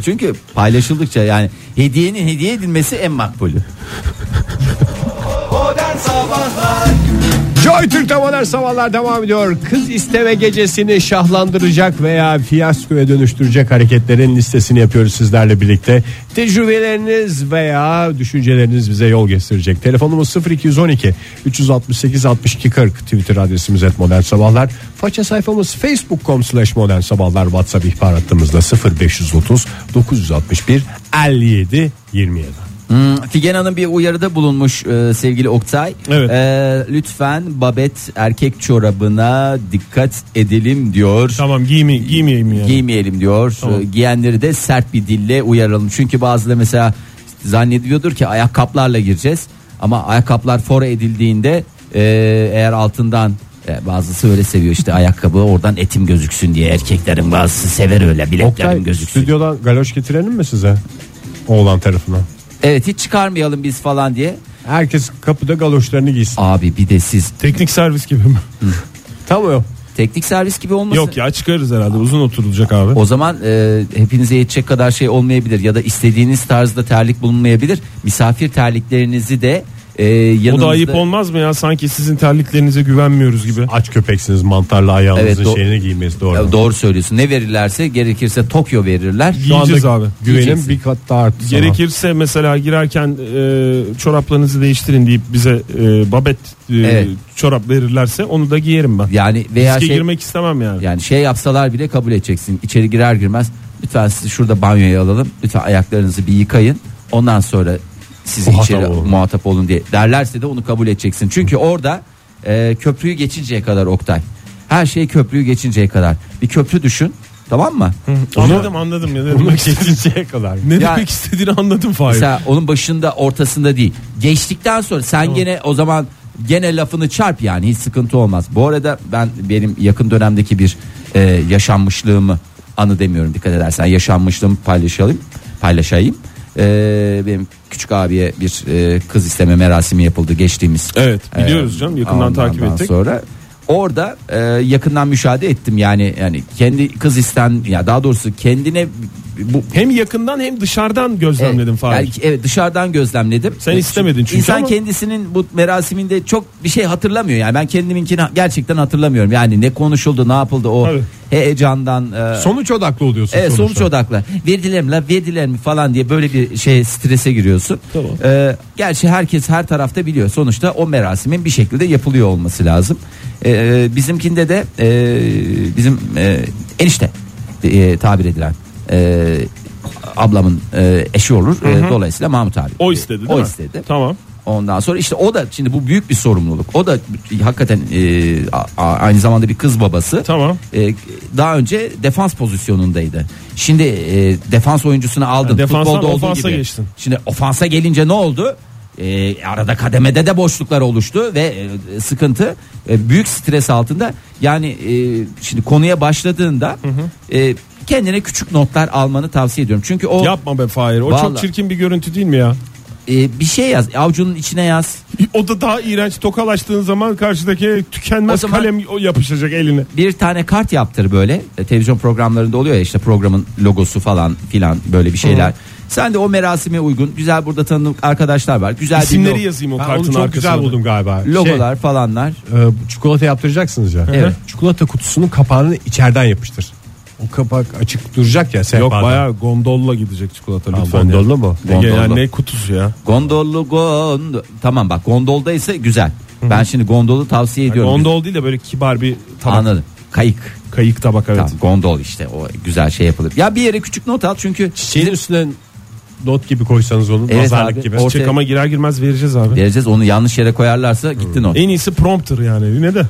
[SPEAKER 2] Çünkü paylaşıldıkça yani hediyenin hediye edilmesi en makbulü.
[SPEAKER 4] Joy Türk'te modern sabahlar devam ediyor. Kız isteme gecesini şahlandıracak veya fiyaskoya dönüştürecek hareketlerin listesini yapıyoruz sizlerle birlikte. Tecrübeleriniz veya düşünceleriniz bize yol gösterecek. Telefonumuz 0212 368 62 40 Twitter adresimiz et modern sabahlar. Faça sayfamız facebook.com slash modern sabahlar WhatsApp ihbar hattımızda 0530 961 57 27.
[SPEAKER 2] Hmm, Figen Hanım bir uyarıda bulunmuş e, sevgili Oktay.
[SPEAKER 3] Evet.
[SPEAKER 2] E, lütfen babet erkek çorabına dikkat edelim diyor.
[SPEAKER 3] Tamam giyme, giymeyeyim yani.
[SPEAKER 2] Giymeyelim diyor. E, Giyenleri de sert bir dille uyaralım. Çünkü bazıları mesela zannediyordur ki ayakkabılarla gireceğiz. Ama ayakkabılar fora edildiğinde e, eğer altından e, bazısı öyle seviyor işte ayakkabı oradan etim gözüksün diye erkeklerin bazısı sever öyle bileklerim
[SPEAKER 4] Oktay
[SPEAKER 2] gözüksün.
[SPEAKER 4] stüdyodan galoş getirelim mi size? Oğlan tarafına.
[SPEAKER 2] Evet hiç çıkarmayalım biz falan diye.
[SPEAKER 4] Herkes kapıda galoşlarını giysin.
[SPEAKER 2] Abi bir de siz
[SPEAKER 3] Teknik servis gibi mi?
[SPEAKER 4] Tamam yok.
[SPEAKER 2] teknik servis gibi olmasın.
[SPEAKER 3] Yok ya çıkarız herhalde uzun oturulacak abi.
[SPEAKER 2] O zaman e, hepinize yetecek kadar şey olmayabilir ya da istediğiniz tarzda terlik bulunmayabilir. Misafir terliklerinizi de e,
[SPEAKER 3] O
[SPEAKER 2] yanınızda
[SPEAKER 3] da ayıp olmaz mı ya sanki sizin terliklerinize güvenmiyoruz gibi.
[SPEAKER 4] Aç köpeksiniz mantarlı ayağınızın
[SPEAKER 2] Evet, do-
[SPEAKER 4] şeyini giymeniz doğru.
[SPEAKER 2] Ya doğru söylüyorsun. Ne verirlerse gerekirse Tokyo verirler.
[SPEAKER 3] Şu anda Giyeceğiz abi.
[SPEAKER 4] Güvenim
[SPEAKER 2] Giyeceksin.
[SPEAKER 4] bir kat daha arttı sana.
[SPEAKER 3] Gerekirse mesela girerken e, çoraplarınızı değiştirin deyip bize e, babet e,
[SPEAKER 2] Evet.
[SPEAKER 3] çorap verirlerse onu da giyerim ben.
[SPEAKER 2] Yani veya
[SPEAKER 3] Riske
[SPEAKER 2] şey
[SPEAKER 3] girmek istemem yani.
[SPEAKER 2] yani şey yapsalar bile kabul edeceksin. İçeri girer girmez lütfen sizi şurada banyoya alalım. Lütfen ayaklarınızı bir yıkayın. Ondan sonra sizi
[SPEAKER 4] Muhatap
[SPEAKER 2] içeri
[SPEAKER 4] olun.
[SPEAKER 2] muhatap olun diye derlerse de onu kabul edeceksin. Çünkü orada e, köprüyü geçinceye kadar Oktay. Her şey köprüyü geçinceye kadar. Bir köprü düşün. Tamam mı?
[SPEAKER 3] Anladım anladım ya ne demek istediğin kadar. Ne
[SPEAKER 2] Ya-
[SPEAKER 3] demek istediğini anladım Fahir.
[SPEAKER 2] Mesela onun başında ortasında değil. Geçtikten sonra sen gene o zaman gene lafını çarp yani hiç sıkıntı olmaz. Bu arada ben benim yakın dönemdeki bir e, yaşanmışlığımı anı demiyorum dikkat edersen yaşanmışlığımı paylaşalım paylaşayım. E, benim küçük abiye bir e, kız isteme merasimi yapıldı geçtiğimiz. e,
[SPEAKER 3] Evet biliyoruz canım yakından
[SPEAKER 2] Ondan
[SPEAKER 3] takip ettik.
[SPEAKER 2] Sonra orada e, yakından müşahede ettim yani yani kendi kız isten ya daha doğrusu kendine bu
[SPEAKER 3] Hem yakından hem dışarıdan gözlemledim Fahir.
[SPEAKER 2] yani, evet dışarıdan gözlemledim.
[SPEAKER 3] Sen istemedin çünkü
[SPEAKER 2] İnsan
[SPEAKER 3] ama-
[SPEAKER 2] kendisinin bu merasiminde çok bir şey hatırlamıyor. Yani ben kendiminkini gerçekten hatırlamıyorum. Yani ne konuşuldu, ne yapıldı o
[SPEAKER 3] Tabii.
[SPEAKER 2] heyecandan e,
[SPEAKER 4] Sonuç odaklı oluyorsun
[SPEAKER 2] Evet sonuç
[SPEAKER 4] sonuçta.
[SPEAKER 2] odaklı. Verdiler mi la verdiler mi falan diye böyle bir şey strese giriyorsun.
[SPEAKER 3] Tamam.
[SPEAKER 2] Ee, gerçi herkes her tarafta biliyor. Sonuçta o merasimin bir şekilde yapılıyor olması lazım. Ee, bizimkinde de e, bizim e, enişte e, tabir edilen e, ablamın e, eşi olur. E, dolayısıyla Mahmut abi.
[SPEAKER 3] O istedi değil
[SPEAKER 2] o
[SPEAKER 3] mi?
[SPEAKER 2] istedi.
[SPEAKER 3] Tamam.
[SPEAKER 2] Ondan sonra işte o da şimdi bu büyük bir sorumluluk. O da hakikaten e, a- a- aynı zamanda bir kız babası.
[SPEAKER 3] Tamam.
[SPEAKER 2] E, daha önce defans pozisyonundaydı. Şimdi e, defans oyuncusunu aldın.
[SPEAKER 3] Yani defanstan
[SPEAKER 2] Futbolda olduğu
[SPEAKER 3] ofansa
[SPEAKER 2] gibi.
[SPEAKER 3] geçtin.
[SPEAKER 2] Şimdi ofansa gelince ne oldu? E, arada kademede de boşluklar oluştu ve e, sıkıntı e, büyük stres altında. Yani e, şimdi konuya başladığında e, kendine küçük notlar almanı tavsiye ediyorum. Çünkü o
[SPEAKER 3] Yapma be Fahir. O çok
[SPEAKER 2] Vallahi.
[SPEAKER 3] çirkin bir görüntü değil mi ya?
[SPEAKER 2] e, bir şey yaz, avucunun içine yaz.
[SPEAKER 3] O da daha iğrenç tokalaştığın zaman karşıdaki tükenmez
[SPEAKER 2] O zaman-
[SPEAKER 3] kalem o yapışacak eline.
[SPEAKER 2] bir tane kart yaptır böyle. E, televizyon programlarında oluyor ya işte programın logosu falan filan böyle bir şeyler. Sen de o merasime uygun güzel burada tanıdık arkadaşlar var. Güzel bir
[SPEAKER 3] İsimleri
[SPEAKER 2] lo-
[SPEAKER 3] yazayım o
[SPEAKER 4] Ben onu çok
[SPEAKER 3] kartın
[SPEAKER 4] güzel
[SPEAKER 3] arkasına. da.
[SPEAKER 4] buldum galiba. Şey,
[SPEAKER 2] logolar falanlar.
[SPEAKER 4] e, bu çikolata yaptıracaksınız ya.
[SPEAKER 2] Evet.
[SPEAKER 4] Çikolata kutusunun kapağını içeriden yapıştır. O kapak açık duracak ya
[SPEAKER 3] Yok
[SPEAKER 4] sehpada.
[SPEAKER 3] bayağı gondolla gidecek çikolata
[SPEAKER 4] Ha,
[SPEAKER 3] lütfen. ya.
[SPEAKER 4] Gondollu mu?
[SPEAKER 3] Ne,
[SPEAKER 2] Gondolla.
[SPEAKER 3] yani ne kutusu ya?
[SPEAKER 2] Gondollu gond tamam bak gondolda ise güzel. Ben şimdi gondolu tavsiye ediyorum.
[SPEAKER 3] Gondol değil de böyle kibar bir tabak.
[SPEAKER 2] Anladım. Kayık.
[SPEAKER 3] Kayık tabak evet.
[SPEAKER 2] Tamam, gondol işte o güzel şey yapılır. Ya bir yere küçük not al çünkü
[SPEAKER 4] Çiçeğin üstüne not gibi koysanız onu
[SPEAKER 2] Evet
[SPEAKER 4] nazarlık
[SPEAKER 2] abi,
[SPEAKER 4] gibi.
[SPEAKER 2] ortaya-
[SPEAKER 3] Çek ama girer girmez vereceğiz abi.
[SPEAKER 2] vereceğiz onu yanlış yere koyarlarsa gittin o.
[SPEAKER 3] En iyisi prompter yani. Yine de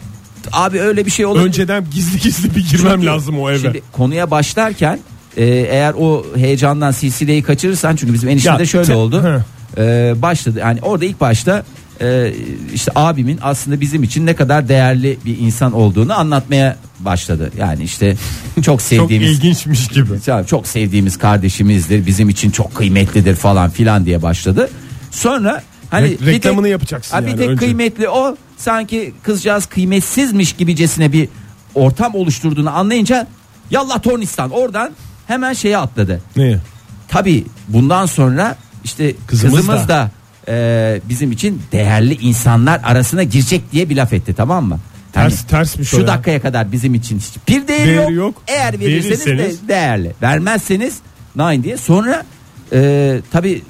[SPEAKER 2] Abi öyle bir şey olur.
[SPEAKER 3] önceden gizli gizli bir girmem lazım o eve.
[SPEAKER 2] Şimdi konuya başlarken e, eğer o heyecandan silsileyi kaçırırsan çünkü bizim enişte
[SPEAKER 3] Ya,
[SPEAKER 2] de şöyle
[SPEAKER 3] te-
[SPEAKER 2] oldu.
[SPEAKER 3] Hı.
[SPEAKER 2] E, başladı yani orada ilk başta e, işte abimin aslında bizim için ne kadar değerli bir insan olduğunu anlatmaya başladı. Yani işte çok
[SPEAKER 4] Çok
[SPEAKER 2] sevdiğimiz
[SPEAKER 4] ilginçmiş gibi.
[SPEAKER 2] ya çok sevdiğimiz kardeşimizdir. Bizim için çok kıymetlidir falan filan diye başladı. Sonra hani
[SPEAKER 3] Re- reklamını yapacaksın
[SPEAKER 2] Ha, Bir
[SPEAKER 3] yani
[SPEAKER 2] tek
[SPEAKER 3] önce.
[SPEAKER 2] kıymetli o sanki kızcağız kıymetsizmiş gibicesine bir ortam oluşturduğunu anlayınca yallah tornistan oradan hemen şeye atladı.
[SPEAKER 3] Neye?
[SPEAKER 2] Tabii bundan sonra işte
[SPEAKER 3] Kızımız
[SPEAKER 2] kızımız, da, e, bizim için değerli insanlar arasına girecek diye bir laf etti tamam mı? Hani
[SPEAKER 3] Ters- tersmiş o
[SPEAKER 2] Şu
[SPEAKER 3] ya.
[SPEAKER 2] dakikaya kadar bizim için hiçbir değeri,
[SPEAKER 3] Değeri
[SPEAKER 2] yok.
[SPEAKER 3] yok.
[SPEAKER 2] Eğer verirseniz
[SPEAKER 3] Verirseniz-
[SPEAKER 2] de değerli. Vermezseniz nine diye. Sonra e, tabi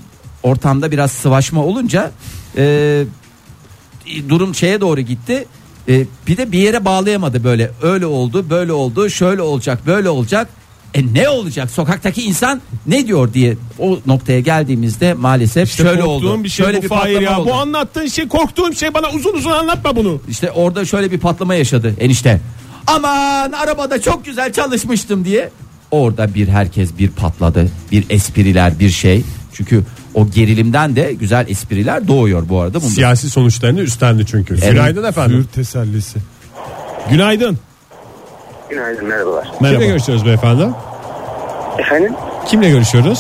[SPEAKER 2] ortamda biraz sıvaşma olunca e, durum şeye doğru gitti. E, bir de bir yere bağlayamadı böyle. Öyle oldu, böyle oldu, şöyle olacak, böyle olacak. E ne olacak sokaktaki insan ne diyor diye o noktaya geldiğimizde maalesef şöyle oldu.
[SPEAKER 3] Korktuğum bir şey
[SPEAKER 2] şöyle
[SPEAKER 3] bu Fahir ya.
[SPEAKER 2] oldu.
[SPEAKER 3] Bu anlattığın şey korktuğum şey bana uzun uzun anlatma bunu.
[SPEAKER 2] İşte orada şöyle bir patlama yaşadı enişte. Aman arabada çok güzel çalışmıştım diye. Orada bir herkes bir patladı. Bir espriler bir şey. Çünkü o gerilimden de güzel espriler doğuyor bu arada. Bunu da-
[SPEAKER 4] Siyasi sonuçlarını üstlendi çünkü. Günaydın efendim.
[SPEAKER 3] Sür tesellisi. Günaydın.
[SPEAKER 5] Günaydın merhabalar.
[SPEAKER 4] Kimle görüşüyoruz beyefendi?
[SPEAKER 5] Efendim Ee,
[SPEAKER 4] Kimle görüşüyoruz?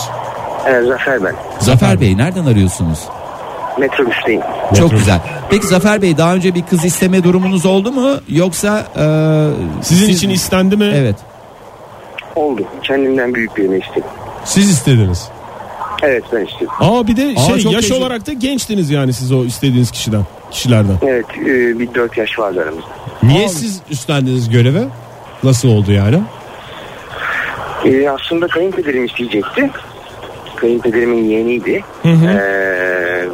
[SPEAKER 5] Zafer ben.
[SPEAKER 2] Zafer Bey nereden arıyorsunuz?
[SPEAKER 5] Metrobüsteyim.
[SPEAKER 2] Çok güzel. Peki Zafer Bey daha önce bir kız isteme durumunuz oldu mu? Yoksa e,
[SPEAKER 3] Sizin
[SPEAKER 2] siz-
[SPEAKER 3] için istendi mi?
[SPEAKER 2] Evet.
[SPEAKER 5] Oldu. Kendimden büyük birini istedim.
[SPEAKER 4] Siz istediniz.
[SPEAKER 5] Evet ben istedim.
[SPEAKER 3] Aa bir de
[SPEAKER 2] Aa,
[SPEAKER 3] şey
[SPEAKER 2] çok
[SPEAKER 3] yaş
[SPEAKER 2] tecrübe-
[SPEAKER 3] olarak da gençtiniz yani siz o istediğiniz kişiden kişilerden.
[SPEAKER 5] Evet e, bir 4 yaş vardı aramızda.
[SPEAKER 4] Niye siz üstlendiniz görevi? Nasıl oldu yani?
[SPEAKER 5] E, aslında kayınpederim isteyecekti. Kayınpederimin yeğeniydi. E,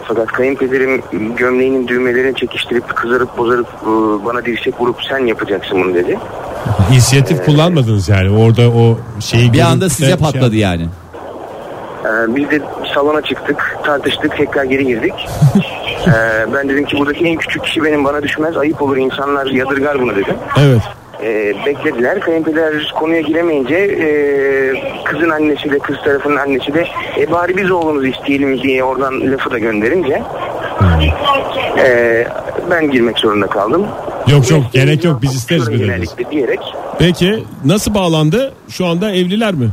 [SPEAKER 5] fakat kayınpederim gömleğinin düğmelerini çekiştirip kızarıp bozarıp e, bana dirsek vurup sen yapacaksın bunu dedi.
[SPEAKER 4] İnisiyatif kullanmadınız yani. Orada o şeyi
[SPEAKER 2] Bir anda
[SPEAKER 4] görüp de
[SPEAKER 2] size
[SPEAKER 4] şey
[SPEAKER 2] patladı yani.
[SPEAKER 5] E, biz de salona çıktık tartıştık tekrar geri girdik. E, ben dedim ki buradaki en küçük kişi benim bana düşmez ayıp olur insanlar yadırgar bunu dedim.
[SPEAKER 3] Evet.
[SPEAKER 5] E, beklediler. Kayınpeder konuya giremeyince e, kızın annesi de kız tarafının annesi de e, bari biz oğlumuzu isteyelim diye oradan lafı da gönderince e, ben girmek zorunda kaldım.
[SPEAKER 4] Yok yok gerek yok biz isteriz bir dediniz.
[SPEAKER 5] Genellikle diyerek
[SPEAKER 3] Peki nasıl bağlandı? Şu anda evliler mi?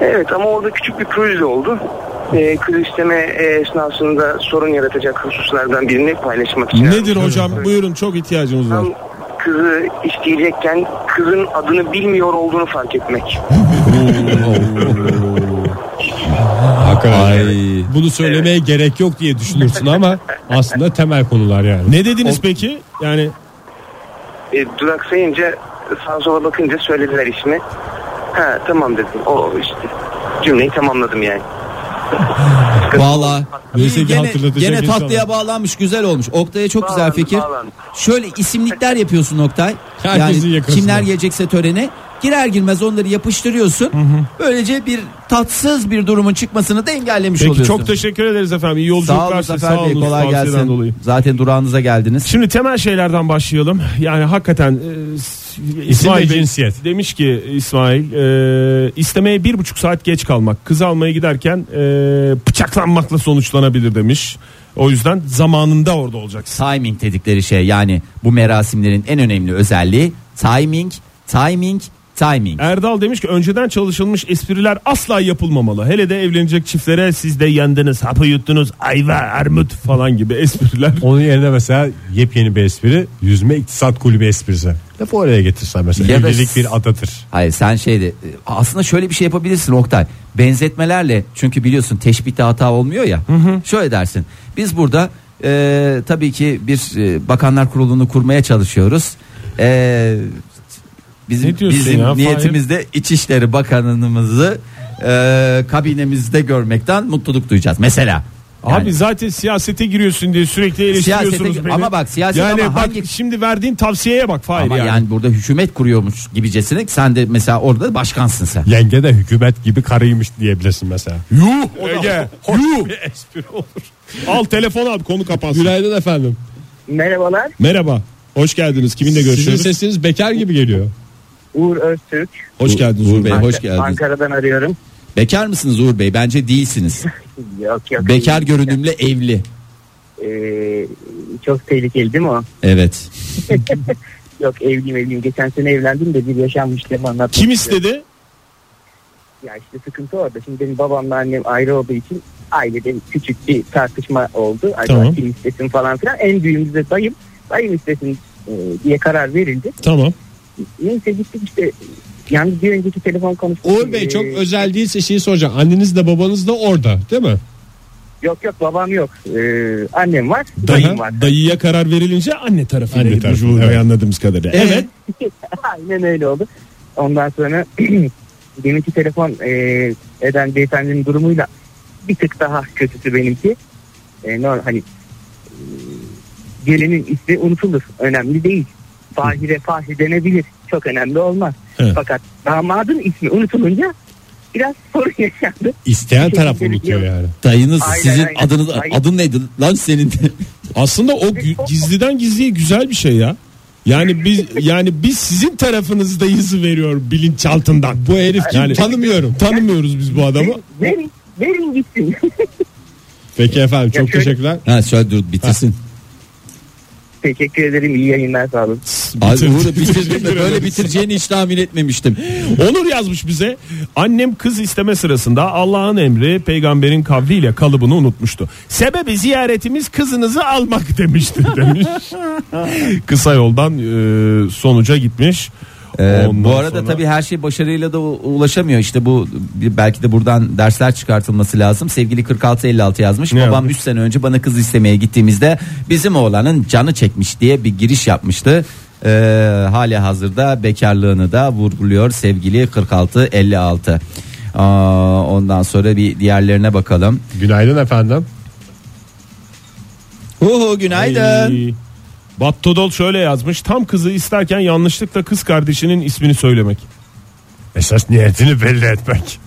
[SPEAKER 5] Evet ama orada küçük bir kriz de oldu. E, kriz isteme e, esnasında sorun yaratacak hususlardan birini paylaşmak için.
[SPEAKER 3] Nedir hocam? Buyurun çok ihtiyacımız var.
[SPEAKER 5] Tam kızı isteyecekken kızın adını bilmiyor olduğunu fark etmek.
[SPEAKER 4] Hakikaten.
[SPEAKER 2] Ay.
[SPEAKER 4] Bunu söylemeye gerek yok diye düşünürsün ama aslında temel konular yani.
[SPEAKER 3] Ne dediniz peki? Yani
[SPEAKER 5] E, duraksayınca sağa sola bakınca söylediler ismi. Ha tamam dedim. O işte cümleyi tamamladım yani.
[SPEAKER 2] Valla
[SPEAKER 4] Neyse ki
[SPEAKER 2] gene,
[SPEAKER 4] hatırlatacak
[SPEAKER 2] gene
[SPEAKER 4] insan
[SPEAKER 2] tatlıya bağlanmış güzel olmuş. Oktay'a çok güzel
[SPEAKER 5] Bağlandı,
[SPEAKER 2] fikir.
[SPEAKER 5] bağlandı.
[SPEAKER 2] Şöyle isimlikler yapıyorsun Oktay.
[SPEAKER 4] Herkesin
[SPEAKER 2] yani
[SPEAKER 4] yakasına.
[SPEAKER 2] kimler gelecekse törene girer girmez onları yapıştırıyorsun. Böylece bir tatsız bir durumun çıkmasını da engellemiş
[SPEAKER 3] peki
[SPEAKER 2] oluyorsun.
[SPEAKER 3] çok teşekkür ederiz efendim. İyi
[SPEAKER 2] Sağ olun
[SPEAKER 3] yolculuklar size.
[SPEAKER 2] Zafer
[SPEAKER 3] Sağ
[SPEAKER 2] Bey
[SPEAKER 3] olun.
[SPEAKER 2] kolay
[SPEAKER 3] tavsiyeden
[SPEAKER 2] gelsin.
[SPEAKER 3] Dolayı.
[SPEAKER 2] Zaten durağınıza geldiniz.
[SPEAKER 3] Şimdi temel şeylerden başlayalım. Yani hakikaten e, s-
[SPEAKER 4] ve
[SPEAKER 3] İsmail Bey
[SPEAKER 4] cinsiyet.
[SPEAKER 3] demiş ki İsmail e, istemeye bir buçuk saat geç kalmak kız almaya giderken e, bıçaklanmakla sonuçlanabilir demiş. O yüzden zamanında orada olacaksın.
[SPEAKER 2] timing dedikleri şey yani bu merasimlerin en önemli özelliği timing, timing, timing.
[SPEAKER 3] Erdal demiş ki önceden çalışılmış espriler asla yapılmamalı. Hele de evlenecek çiftlere siz de yendiniz, hapı yuttunuz, ayva, armut falan gibi espriler.
[SPEAKER 4] Onun yerine mesela yepyeni bir espri yüzme iktisat kulübü esprisi. Lafı oraya getirsen mesela
[SPEAKER 2] Ya da-
[SPEAKER 4] evlilik bir adadır.
[SPEAKER 2] Hayır sen şeyde aslında şöyle bir şey yapabilirsin Oktay. Benzetmelerle çünkü biliyorsun teşbihte hata olmuyor ya. Şöyle dersin. Biz burada e, tabii ki bir e, bakanlar kurulunu kurmaya çalışıyoruz. E, bizim
[SPEAKER 3] Ne diyorsun
[SPEAKER 2] bizim
[SPEAKER 3] ya,
[SPEAKER 2] niyetimizde İçişleri Bakanımızı e, kabinemizde görmekten mutluluk duyacağız. Mesela.
[SPEAKER 3] Abi zaten siyasete giriyorsun diye sürekli eleştiriyorsunuz
[SPEAKER 2] Siyasete-
[SPEAKER 3] beni.
[SPEAKER 2] ama bak siyaset
[SPEAKER 3] yani
[SPEAKER 2] ama
[SPEAKER 3] bak
[SPEAKER 2] hangi-
[SPEAKER 3] şimdi verdiğin tavsiyeye bak Fahir
[SPEAKER 2] Ama
[SPEAKER 3] yani.
[SPEAKER 2] yani. burada hükümet kuruyormuş gibicesine sen de mesela orada başkansın sen.
[SPEAKER 4] Yenge de hükümet gibi karıymış diyebilirsin mesela.
[SPEAKER 3] Yuh
[SPEAKER 8] (laughs)
[SPEAKER 3] Ege. Yuh. Al telefon al konu kapansın.
[SPEAKER 4] Günaydın efendim.
[SPEAKER 8] Merhabalar.
[SPEAKER 3] Merhaba. Hoş geldiniz. Kiminle görüşüyoruz?
[SPEAKER 4] Sizin sesiniz bekar gibi geliyor.
[SPEAKER 8] Uğur Öztürk.
[SPEAKER 3] Hoş geldiniz Uğur Bey.
[SPEAKER 2] Bey E, hoş
[SPEAKER 8] Ank-
[SPEAKER 2] geldiniz.
[SPEAKER 8] Ankara'dan arıyorum.
[SPEAKER 2] Bekar mısınız Uğur Bey? Bence değilsiniz.
[SPEAKER 8] Yok yok.
[SPEAKER 2] Bekar görünümlü evli.
[SPEAKER 8] Ee, çok tehlikeli değil mi o?
[SPEAKER 2] Evet.
[SPEAKER 8] Yok evliyim evliyim. Geçen sene evlendim de bir yaşanmışlığımı anlatmak
[SPEAKER 3] Kim
[SPEAKER 8] istiyorum.
[SPEAKER 3] istedi?
[SPEAKER 8] Ya işte sıkıntı orada. Şimdi benim babamla annem ayrı olduğu için ailede küçük bir tartışma oldu. Acaba
[SPEAKER 3] Tamam.
[SPEAKER 8] kim istesin falan filan. En büyüğümüz de dayım. Dayım istesin e, diye karar verildi.
[SPEAKER 3] Tamam.
[SPEAKER 8] Neyse gittik işte. Yalnız bir önceki telefon konuşması.
[SPEAKER 4] Uğur Bey çok
[SPEAKER 8] Ee,
[SPEAKER 4] özel değilse şeyi soracağım. Anneniz de babanız da orada değil mi?
[SPEAKER 8] Yok yok babam yok. Ee, annem var. Dayım var.
[SPEAKER 3] Dayıya karar verilince anne tarafıyla
[SPEAKER 4] Anne
[SPEAKER 3] gitmiş
[SPEAKER 4] tarafı,
[SPEAKER 3] Uğur Bey
[SPEAKER 4] evet. E,
[SPEAKER 3] anladığımız kadarıyla. Evet.
[SPEAKER 8] (laughs) Aynen öyle oldu. Ondan sonra (clears throat) benimki telefon e, eden beyefendinin durumuyla bir tık daha kötüsü benimki. E, normal, hani e, gelenin ismi unutulur. Önemli değil. Fahire fahri denebilir. çok önemli olmaz.
[SPEAKER 3] Evet.
[SPEAKER 8] Fakat damadın ismi unutulunca biraz sorun yaşandı.
[SPEAKER 4] İsteyen
[SPEAKER 8] Teşekkür
[SPEAKER 4] taraf unutuyor
[SPEAKER 8] ediyorum.
[SPEAKER 4] yani.
[SPEAKER 9] Dayınız
[SPEAKER 8] Aynen,
[SPEAKER 9] sizin
[SPEAKER 8] aynen.
[SPEAKER 9] adınız
[SPEAKER 8] Aynen.
[SPEAKER 9] adın neydi lan senin? (laughs)
[SPEAKER 3] Aslında o gü- gizliden gizliye güzel bir şey ya. Yani biz yani biz sizin tarafınızdayız veriyor bilinçaltından. Bu herif kim? tanımıyorum. Tanımıyoruz biz bu adamı.
[SPEAKER 8] Verin, verin, verin gitsin. (laughs)
[SPEAKER 4] Peki efendim çok
[SPEAKER 8] Ya şöyle-
[SPEAKER 4] teşekkürler.
[SPEAKER 9] ha söyle dur bitirsin.
[SPEAKER 8] Teşekkür ederim. iyi yayınlar sağ olun.
[SPEAKER 9] Abi
[SPEAKER 3] Bitirdi.
[SPEAKER 9] Uğur'u bitirdin de
[SPEAKER 3] Teşekkür
[SPEAKER 9] böyle
[SPEAKER 3] ederiz.
[SPEAKER 9] bitireceğini hiç tahmin etmemiştim.
[SPEAKER 3] Onur yazmış bize. Annem kız isteme sırasında Allah'ın emri peygamberin kavliyle kalıbını unutmuştu. Sebebi ziyaretimiz kızınızı almak demişti
[SPEAKER 2] (laughs)
[SPEAKER 3] demiş. Kısa yoldan e, sonuca gitmiş.
[SPEAKER 2] Ee,
[SPEAKER 3] Ondan
[SPEAKER 2] bu arada
[SPEAKER 3] sonra-
[SPEAKER 2] tabii her şey başarıyla da u- ulaşamıyor. İşte bu bir- belki de buradan dersler çıkartılması lazım. Sevgili 4656 yazmış.
[SPEAKER 3] Ne
[SPEAKER 2] Babam
[SPEAKER 3] yazmış?
[SPEAKER 2] 3 sene önce bana kız istemeye gittiğimizde bizim oğlanın canı çekmiş diye bir giriş yapmıştı. Ee, hali hazırda bekarlığını da vurguluyor sevgili 4656. Aa, ondan sonra bir diğerlerine bakalım.
[SPEAKER 4] Günaydın efendim.
[SPEAKER 2] Huhu günaydın.
[SPEAKER 3] Ay. Battodol şöyle yazmış. Tam kızı isterken yanlışlıkla kız kardeşinin ismini söylemek.
[SPEAKER 4] Esas niyetini belli etmek.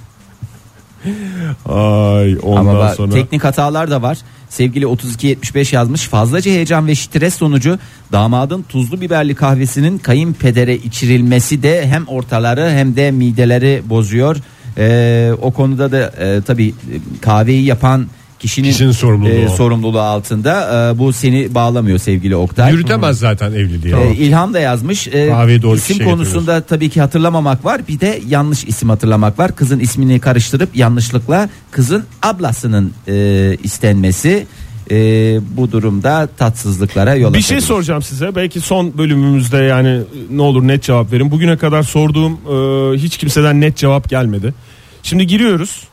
[SPEAKER 3] Ay ondan
[SPEAKER 2] Ama bak,
[SPEAKER 3] sonra.
[SPEAKER 2] teknik hatalar da var. Sevgili 3275 yazmış. Fazlaca heyecan ve stres sonucu damadın tuzlu biberli kahvesinin kayınpedere içirilmesi de hem ortaları hem de mideleri bozuyor. Ee, o konuda da e, tabii e, kahveyi yapan kişinin, e,
[SPEAKER 4] Kişinin sorumluluğu.
[SPEAKER 2] sorumluluğu altında. Ee, bu seni bağlamıyor sevgili Oktay.
[SPEAKER 4] Yürütemez zaten evliliği.
[SPEAKER 2] Ee, İlham da yazmış. Ee,
[SPEAKER 4] Kahveyi doğru
[SPEAKER 2] isim
[SPEAKER 4] kişiye
[SPEAKER 2] konusunda tabii ki hatırlamamak var. Bir de yanlış isim hatırlamak var. Kızın ismini karıştırıp yanlışlıkla kızın ablasının e, istenmesi e, bu durumda tatsızlıklara yol
[SPEAKER 3] Bir şey
[SPEAKER 2] açabilir.
[SPEAKER 3] soracağım size. Belki son bölümümüzde yani e, ne olur net cevap verin. Bugüne kadar sorduğum e, hiç kimseden net cevap gelmedi. Şimdi giriyoruz.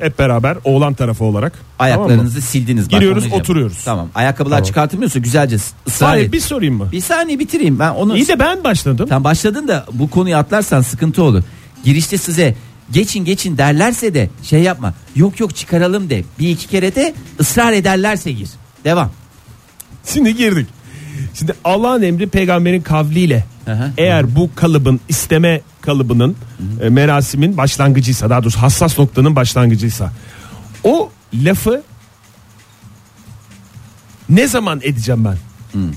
[SPEAKER 3] Hep beraber oğlan tarafı olarak. Tamam mı?
[SPEAKER 2] Ayaklarınızı sildiniz. Bak,
[SPEAKER 3] Giriyoruz,
[SPEAKER 2] onu diyeceğim.
[SPEAKER 3] oturuyoruz.
[SPEAKER 2] Tamam. Ayakkabılar çıkartılmıyorsa güzelce ısrar
[SPEAKER 3] Hayır
[SPEAKER 2] et.
[SPEAKER 3] bir sorayım mı?
[SPEAKER 2] Bir saniye bitireyim ben onu.
[SPEAKER 3] İyi de ben başladım.
[SPEAKER 2] Sen başladın da bu konuyu atlarsan sıkıntı olur. Girişte size geçin geçin derlerse de şey yapma. Yok yok çıkaralım de. Bir iki kere de ısrar ederlerse gir. Devam.
[SPEAKER 3] Şimdi girdik. Şimdi Allah'ın emri peygamberin kavliyle
[SPEAKER 2] Aha.
[SPEAKER 3] eğer bu kalıbın isteme kalıbının e, merasimin başlangıcıysa daha doğrusu hassas noktanın başlangıcıysa o lafı ne zaman edeceğim ben?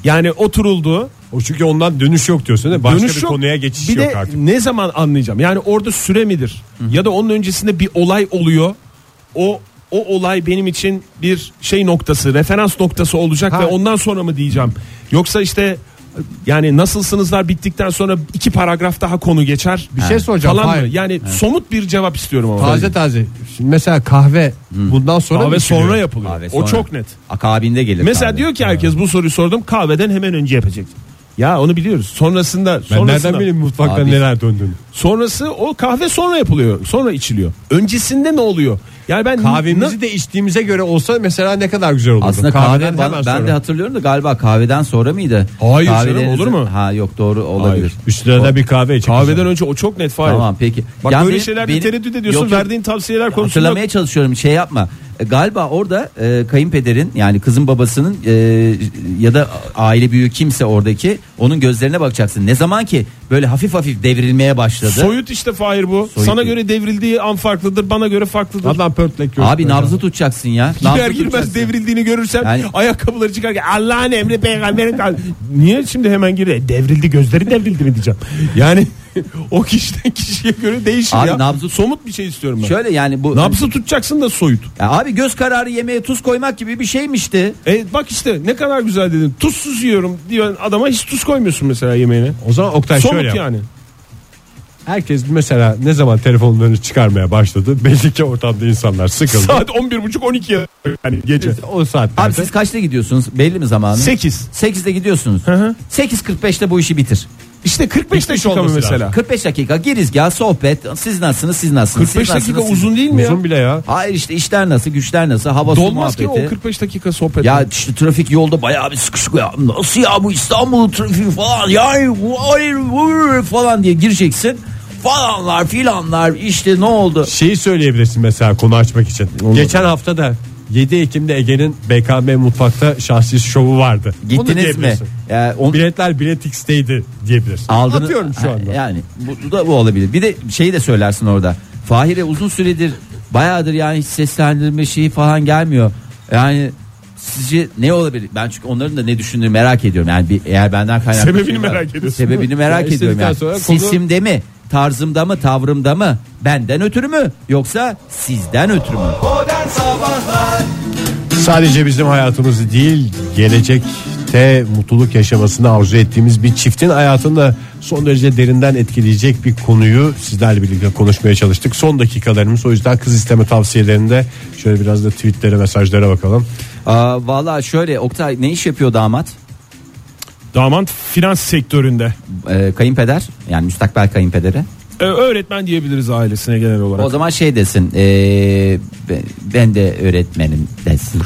[SPEAKER 3] Yani oturuldu.
[SPEAKER 4] O çünkü ondan dönüş yok diyorsun değil mi? Başka
[SPEAKER 3] dönüş
[SPEAKER 4] bir
[SPEAKER 3] yok.
[SPEAKER 4] konuya geçiş
[SPEAKER 3] Bir de
[SPEAKER 4] yok artık.
[SPEAKER 3] ne zaman anlayacağım? Yani orada süre midir? Ya da onun öncesinde bir olay oluyor. O o olay benim için bir şey noktası, referans noktası olacak ve ondan sonra mı diyeceğim? Yoksa işte yani nasılsınızlar bittikten sonra iki paragraf daha konu geçer. Bir
[SPEAKER 4] şey soracağım,
[SPEAKER 3] Falan mı?
[SPEAKER 4] hayır.
[SPEAKER 3] Yani somut bir cevap istiyorum ama.
[SPEAKER 4] Taze taze. Şimdi mesela kahve bundan sonra
[SPEAKER 3] Kahve
[SPEAKER 4] mı içiliyor?
[SPEAKER 3] sonra yapılıyor.
[SPEAKER 2] Kahve
[SPEAKER 3] O
[SPEAKER 2] sonra.
[SPEAKER 3] çok net.
[SPEAKER 2] Akabinde gelir.
[SPEAKER 3] Mesela
[SPEAKER 2] kahve.
[SPEAKER 3] diyor ki herkes bu soruyu sordum kahveden hemen önce yapacak. Ya onu biliyoruz. Sonrasında
[SPEAKER 4] Ben
[SPEAKER 3] sonrasında.
[SPEAKER 4] nereden bileyim mutfakta
[SPEAKER 2] Abi-
[SPEAKER 4] neler döndüğünü.
[SPEAKER 3] Sonrası o kahve sonra yapılıyor. Sonra içiliyor. Öncesinde ne oluyor? Yani ben
[SPEAKER 4] Kahvemizi de içtiğimize göre olsa mesela ne kadar güzel olurdu.
[SPEAKER 2] aslında kahve
[SPEAKER 4] Kahveden
[SPEAKER 2] ben,
[SPEAKER 4] hemen
[SPEAKER 2] ben
[SPEAKER 4] sonra.
[SPEAKER 2] de hatırlıyorum da galiba kahveden sonra mıydı?
[SPEAKER 3] Hayır canım,
[SPEAKER 2] Kahvelerinizi-
[SPEAKER 3] olur mu?
[SPEAKER 2] Ha yok doğru olabilir.
[SPEAKER 3] Hayır.
[SPEAKER 4] Üstüne de bir kahve içelim.
[SPEAKER 3] kahveden önce o çok net fayda.
[SPEAKER 2] Tamam peki.
[SPEAKER 3] Bak
[SPEAKER 2] Ya
[SPEAKER 3] böyle
[SPEAKER 2] benim-
[SPEAKER 3] şeylerde
[SPEAKER 2] benim-
[SPEAKER 3] tereddüt ediyorsun.
[SPEAKER 2] Yok, yok.
[SPEAKER 3] Verdiğin tavsiyeler konusunda
[SPEAKER 2] Hatırlamaya çalışıyorum şey yapma. E, Galiba orada e, kayınpederin yani kızın babasının e, ya da aile büyüğü kimse oradaki onun gözlerine bakacaksın. Ne zaman ki böyle hafif hafif devrilmeye başladı.
[SPEAKER 3] (laughs) soyut işte Fahir bu.
[SPEAKER 2] Soyut
[SPEAKER 3] Sana
[SPEAKER 2] değil.
[SPEAKER 3] göre devrildiği an farklıdır. Bana göre farklıdır.
[SPEAKER 4] Adnan
[SPEAKER 2] (laughs)
[SPEAKER 4] Pörtlek gördüm.
[SPEAKER 2] Abi nabzı tutacaksın ya.
[SPEAKER 3] Gider
[SPEAKER 2] Nabzı
[SPEAKER 3] girmez
[SPEAKER 2] tutacaksın.
[SPEAKER 3] devrildiğini görürsem
[SPEAKER 2] Yani-
[SPEAKER 3] ayakkabıları çıkarken Allah'ın emri peygamberin kal- Niye şimdi hemen gir devrildi gözleri devrildi mi diyeceğim. Yani (laughs) o kişiden kişiye göre değişir
[SPEAKER 2] Abi
[SPEAKER 3] ya.
[SPEAKER 2] nabzı-
[SPEAKER 3] Somut bir şey istiyorum ben.
[SPEAKER 2] Şöyle yani bu
[SPEAKER 3] Nabzı tutacaksın da soyut.
[SPEAKER 2] Ya abi göz kararı yemeğe tuz koymak gibi bir şeymişti.
[SPEAKER 3] E bak işte ne kadar güzel dedin. Tuzsuz yiyorum diyen adama hiç tuz koymuyorsun mesela yemeğine.
[SPEAKER 4] O zaman Oktay
[SPEAKER 3] Somut
[SPEAKER 4] şöyle yap.
[SPEAKER 3] yani.
[SPEAKER 4] Herkes mesela ne zaman telefonlarını çıkarmaya başladı belli ki ortamda insanlar sıkıldı.
[SPEAKER 3] Saat 11.30-12 ya. yani gece.
[SPEAKER 4] o
[SPEAKER 2] Abi
[SPEAKER 4] saatlerde
[SPEAKER 2] siz kaçta gidiyorsunuz? Belli mi zamanı?
[SPEAKER 3] 8.
[SPEAKER 2] 8'de gidiyorsunuz. 8.45'te bu işi bitir.
[SPEAKER 3] İşte 45 dakika mı
[SPEAKER 4] olması
[SPEAKER 3] mesela.
[SPEAKER 2] 45 dakika girizgah sohbet. Siz nasılsınız? Siz nasılsınız?
[SPEAKER 3] 45
[SPEAKER 2] siz
[SPEAKER 3] dakika
[SPEAKER 2] nasılsınız?
[SPEAKER 3] uzun değil mi ya?
[SPEAKER 4] uzun bile ya.
[SPEAKER 2] Hayır işte işler nasıl, güçler nasıl, hava su
[SPEAKER 3] Dolmaz ki
[SPEAKER 2] muhabbeti.
[SPEAKER 3] o 45 dakika sohbet.
[SPEAKER 2] Ya işte trafik yolda bayağı bir sıkışık ya. Nasıl ya bu İstanbul trafiği falan ya hayır bu- falan diye gireceksin. Falanlar filanlar işte ne oldu?
[SPEAKER 4] Şeyi söyleyebilirsin mesela konu açmak için. Geçen hafta da 7 Ekim'de Ege'nin BKM mutfakta şahsi şovu vardı. Bunu
[SPEAKER 2] Gittiniz mi?
[SPEAKER 4] diyebilirsin.
[SPEAKER 2] Yani on,
[SPEAKER 4] Biletler Bilet X'teydi diyebilirsin.
[SPEAKER 2] aldınız-
[SPEAKER 4] Atıyorum şu
[SPEAKER 2] Ha,
[SPEAKER 4] anda.
[SPEAKER 2] Yani bu da bu olabilir. Bir de şeyi de söylersin orada. Fahir'e uzun süredir bayağıdır yani hiç seslendirme şeyi falan gelmiyor. Yani sizce ne olabilir? Ben çünkü onların da ne düşündüğünü merak ediyorum. Yani bir, eğer benden kaynaklı
[SPEAKER 3] Sebebini
[SPEAKER 2] şey var-
[SPEAKER 3] merak ediyorsun.
[SPEAKER 2] Sebebini merak ediyorum.
[SPEAKER 4] Ya istedikten
[SPEAKER 2] Yani.
[SPEAKER 4] sonra konu-
[SPEAKER 2] Sesimde mi? Tarzımda mı? Tavrımda mı? Benden ötürü mü? Yoksa sizden ötürü mü?
[SPEAKER 4] Sadece bizim hayatımız değil gelecekte mutluluk yaşamasını arzu ettiğimiz bir çiftin hayatında son derece derinden etkileyecek bir konuyu sizlerle birlikte konuşmaya çalıştık. Son dakikalarımız o yüzden kız isteme tavsiyelerinde şöyle biraz da tweetlere mesajlara bakalım.
[SPEAKER 2] Aa, Valla şöyle Oktay ne iş yapıyor damat?
[SPEAKER 3] Damat finans sektöründe.
[SPEAKER 2] Ee, kayınpeder yani müstakbel kayınpederi.
[SPEAKER 3] Ee, öğretmen diyebiliriz ailesine genel olarak.
[SPEAKER 2] O zaman şey desin ee, be- ben de öğretmenim (laughs) desin.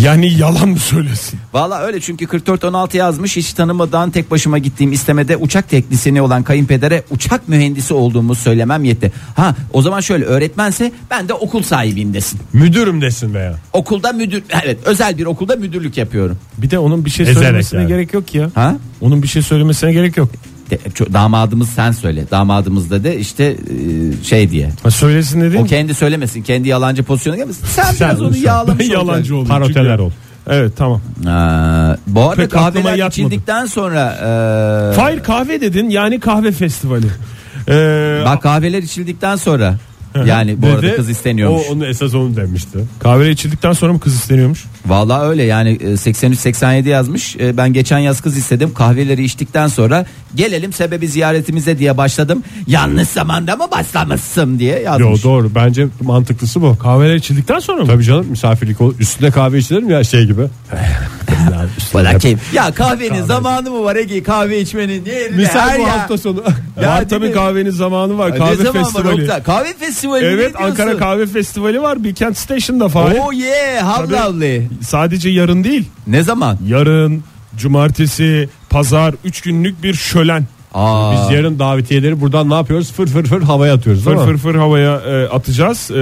[SPEAKER 3] Yani yalan mı söylesin?
[SPEAKER 2] Valla öyle çünkü 44-16 yazmış hiç tanımadan tek başıma gittiğim istemede uçak teknisini olan kayınpedere uçak mühendisi olduğumu söylemem yetti. Ha o zaman şöyle öğretmense ben de okul sahibiyim desin.
[SPEAKER 4] Müdürüm desin veya.
[SPEAKER 2] Okulda müdür evet özel bir okulda müdürlük yapıyorum.
[SPEAKER 3] Bir de onun bir şey
[SPEAKER 4] Ezerek
[SPEAKER 3] söylemesine
[SPEAKER 4] yani.
[SPEAKER 3] gerek yok ya.
[SPEAKER 2] Ha?
[SPEAKER 3] Onun bir şey söylemesine gerek yok.
[SPEAKER 2] De- ço- damadımız sen söyle damadımız da de işte ee, şey diye.
[SPEAKER 3] Ha, söylesin dedi.
[SPEAKER 2] O kendi söylemesin kendi yalancı pozisyona gelmesin. Sen, biraz onu
[SPEAKER 3] olursun. (laughs)
[SPEAKER 2] (laughs) yağlamış
[SPEAKER 3] Ben
[SPEAKER 2] olacaksın.
[SPEAKER 3] yalancı oldum.
[SPEAKER 4] Paroteler
[SPEAKER 3] çünkü.
[SPEAKER 4] ol.
[SPEAKER 3] Evet tamam.
[SPEAKER 2] Aa, Ee, bu arada
[SPEAKER 3] Pek aklıma
[SPEAKER 2] kahveler
[SPEAKER 3] yatmadı.
[SPEAKER 2] içildikten sonra e,
[SPEAKER 3] Hayır kahve dedin yani kahve festivali. Ee,
[SPEAKER 2] (laughs) bak kahveler içildikten sonra yani bu
[SPEAKER 4] Dedi,
[SPEAKER 2] arada kız isteniyormuş.
[SPEAKER 4] O onu esas onu demişti.
[SPEAKER 3] kahve içildikten sonra mı kız isteniyormuş?
[SPEAKER 2] Vallahi öyle yani e, 83 87 yazmış. E, Ben geçen yaz kız istedim. Kahveleri içtikten sonra gelelim sebebi ziyaretimize diye başladım. Yanlış zamanda mı başlamışsın diye
[SPEAKER 4] Yo
[SPEAKER 2] yazmış.
[SPEAKER 4] doğru bence mantıklısı bu.
[SPEAKER 3] Kahveler içildikten sonra mı?
[SPEAKER 4] Tabii canım misafirlik ol. Üstüne kahve içilir mi ya şey gibi?
[SPEAKER 2] Valla keyif. Ya kahvenin zamanı mı var Ege kahve içmenin yerine
[SPEAKER 4] Misal
[SPEAKER 2] her
[SPEAKER 4] bu
[SPEAKER 2] ya.
[SPEAKER 4] hafta sonu.
[SPEAKER 2] Ya
[SPEAKER 3] var
[SPEAKER 2] değil
[SPEAKER 3] tabii
[SPEAKER 2] mi?
[SPEAKER 3] kahvenin zamanı var.
[SPEAKER 2] Ne
[SPEAKER 3] Kahve
[SPEAKER 2] zaman var
[SPEAKER 3] festivali.
[SPEAKER 2] Oktay? Kahve festivali ne
[SPEAKER 3] Ee, evet
[SPEAKER 2] diyorsun?
[SPEAKER 3] Ankara Kahve Festivali var. Bilkent Station'da Fahir.
[SPEAKER 2] Oh yeah how
[SPEAKER 3] Tabii.
[SPEAKER 2] lovely.
[SPEAKER 3] Sadece yarın değil.
[SPEAKER 2] Ne zaman?
[SPEAKER 3] Yarın, cumartesi, pazar 3 günlük bir şölen.
[SPEAKER 2] Aa.
[SPEAKER 4] Biz yarın davetiyeleri buradan ne yapıyoruz? Fır fır fır havaya atıyoruz
[SPEAKER 3] Fır
[SPEAKER 4] değil mi?
[SPEAKER 3] fır fır havaya e, atacağız. E,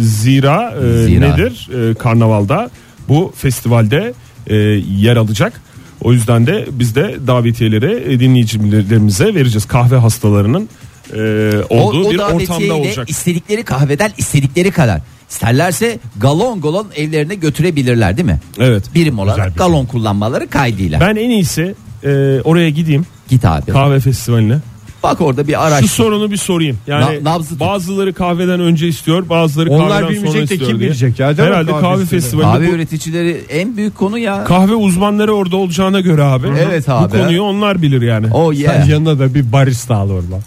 [SPEAKER 3] zira, e,
[SPEAKER 2] Zira.
[SPEAKER 3] nedir? E, karnavalda bu festivalde e, yer alacak. O yüzden de biz de davetiyeleri e, dinleyicilerimize vereceğiz. Kahve hastalarının e,
[SPEAKER 2] O,
[SPEAKER 3] olduğu
[SPEAKER 2] o
[SPEAKER 3] bir ortamda
[SPEAKER 2] davetiyeyle
[SPEAKER 3] olacak.
[SPEAKER 2] istedikleri kahveden istedikleri kadar. İsterlerse galon galon evlerine götürebilirler değil mi?
[SPEAKER 3] Evet.
[SPEAKER 2] Birim olarak
[SPEAKER 3] Güzel bir şey.
[SPEAKER 2] galon kullanmaları kaydıyla.
[SPEAKER 3] Ben en iyisi e, oraya gideyim
[SPEAKER 2] Git abi.
[SPEAKER 3] kahve festivaline.
[SPEAKER 2] Bak orada bir
[SPEAKER 3] Şu
[SPEAKER 2] araç.
[SPEAKER 3] sorunu bir sorayım. Yani
[SPEAKER 2] Na- nabzı tut.
[SPEAKER 3] bazıları kahveden önce istiyor, bazıları
[SPEAKER 4] Onlar
[SPEAKER 3] kahveden
[SPEAKER 4] bilmeyecek
[SPEAKER 3] sonra
[SPEAKER 4] de
[SPEAKER 3] istiyor
[SPEAKER 4] kim
[SPEAKER 3] diye.
[SPEAKER 4] bilecek ya, değil mi?
[SPEAKER 3] Herhalde
[SPEAKER 4] Kahve
[SPEAKER 3] kahve,
[SPEAKER 4] festivalinde.
[SPEAKER 3] festivalinde
[SPEAKER 2] Kahve
[SPEAKER 3] bu
[SPEAKER 2] üreticileri en büyük konu ya.
[SPEAKER 3] Kahve uzmanları orada olacağına göre abi.
[SPEAKER 2] Evet
[SPEAKER 3] bu
[SPEAKER 2] abi.
[SPEAKER 3] konuyu onlar bilir yani.
[SPEAKER 2] oh
[SPEAKER 4] Sen
[SPEAKER 2] yeah.
[SPEAKER 4] yanına da bir barista al orada.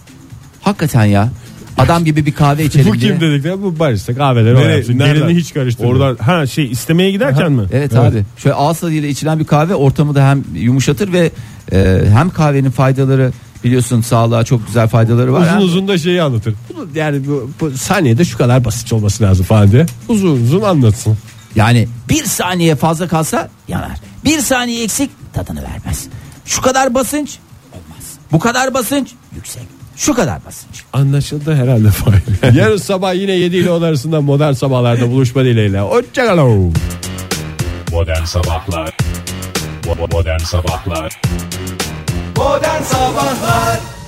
[SPEAKER 2] Hakikaten ya. Adam gibi bir kahve içelim
[SPEAKER 4] Bu
[SPEAKER 2] diye.
[SPEAKER 4] kim dedik ya bu barista kahveleri o
[SPEAKER 3] Nereye-
[SPEAKER 4] yapsın.
[SPEAKER 3] nereden?
[SPEAKER 4] Gelini hiç karıştırmıyor.
[SPEAKER 3] Oradan ha şey istemeye giderken mi?
[SPEAKER 2] Evet, abi. Şöyle ağız tadıyla içilen bir kahve ortamı da hem yumuşatır ve e, hem kahvenin faydaları biliyorsun sağlığa çok güzel faydaları var.
[SPEAKER 4] uzun
[SPEAKER 2] Hem-
[SPEAKER 4] uzun da şeyi anlatır. Bunu Yani bu, bu saniyede şu kadar basit olması lazım falan diye. Uzun uzun anlatsın.
[SPEAKER 2] Yani bir saniye fazla kalsa yanar. Bir saniye eksik tadını vermez. Şu kadar basınç olmaz. Bu kadar basınç yüksek. Şu kadar basınç.
[SPEAKER 3] Anlaşıldı herhalde Fahir.
[SPEAKER 4] Yarın sabah yine 7 ile 10 arasında modern sabahlarda buluşma dileğiyle. Hoşçakalın.
[SPEAKER 10] Modern Sabahlar Bo- bo- Modern Sabahlar
[SPEAKER 1] Modern Sabahlar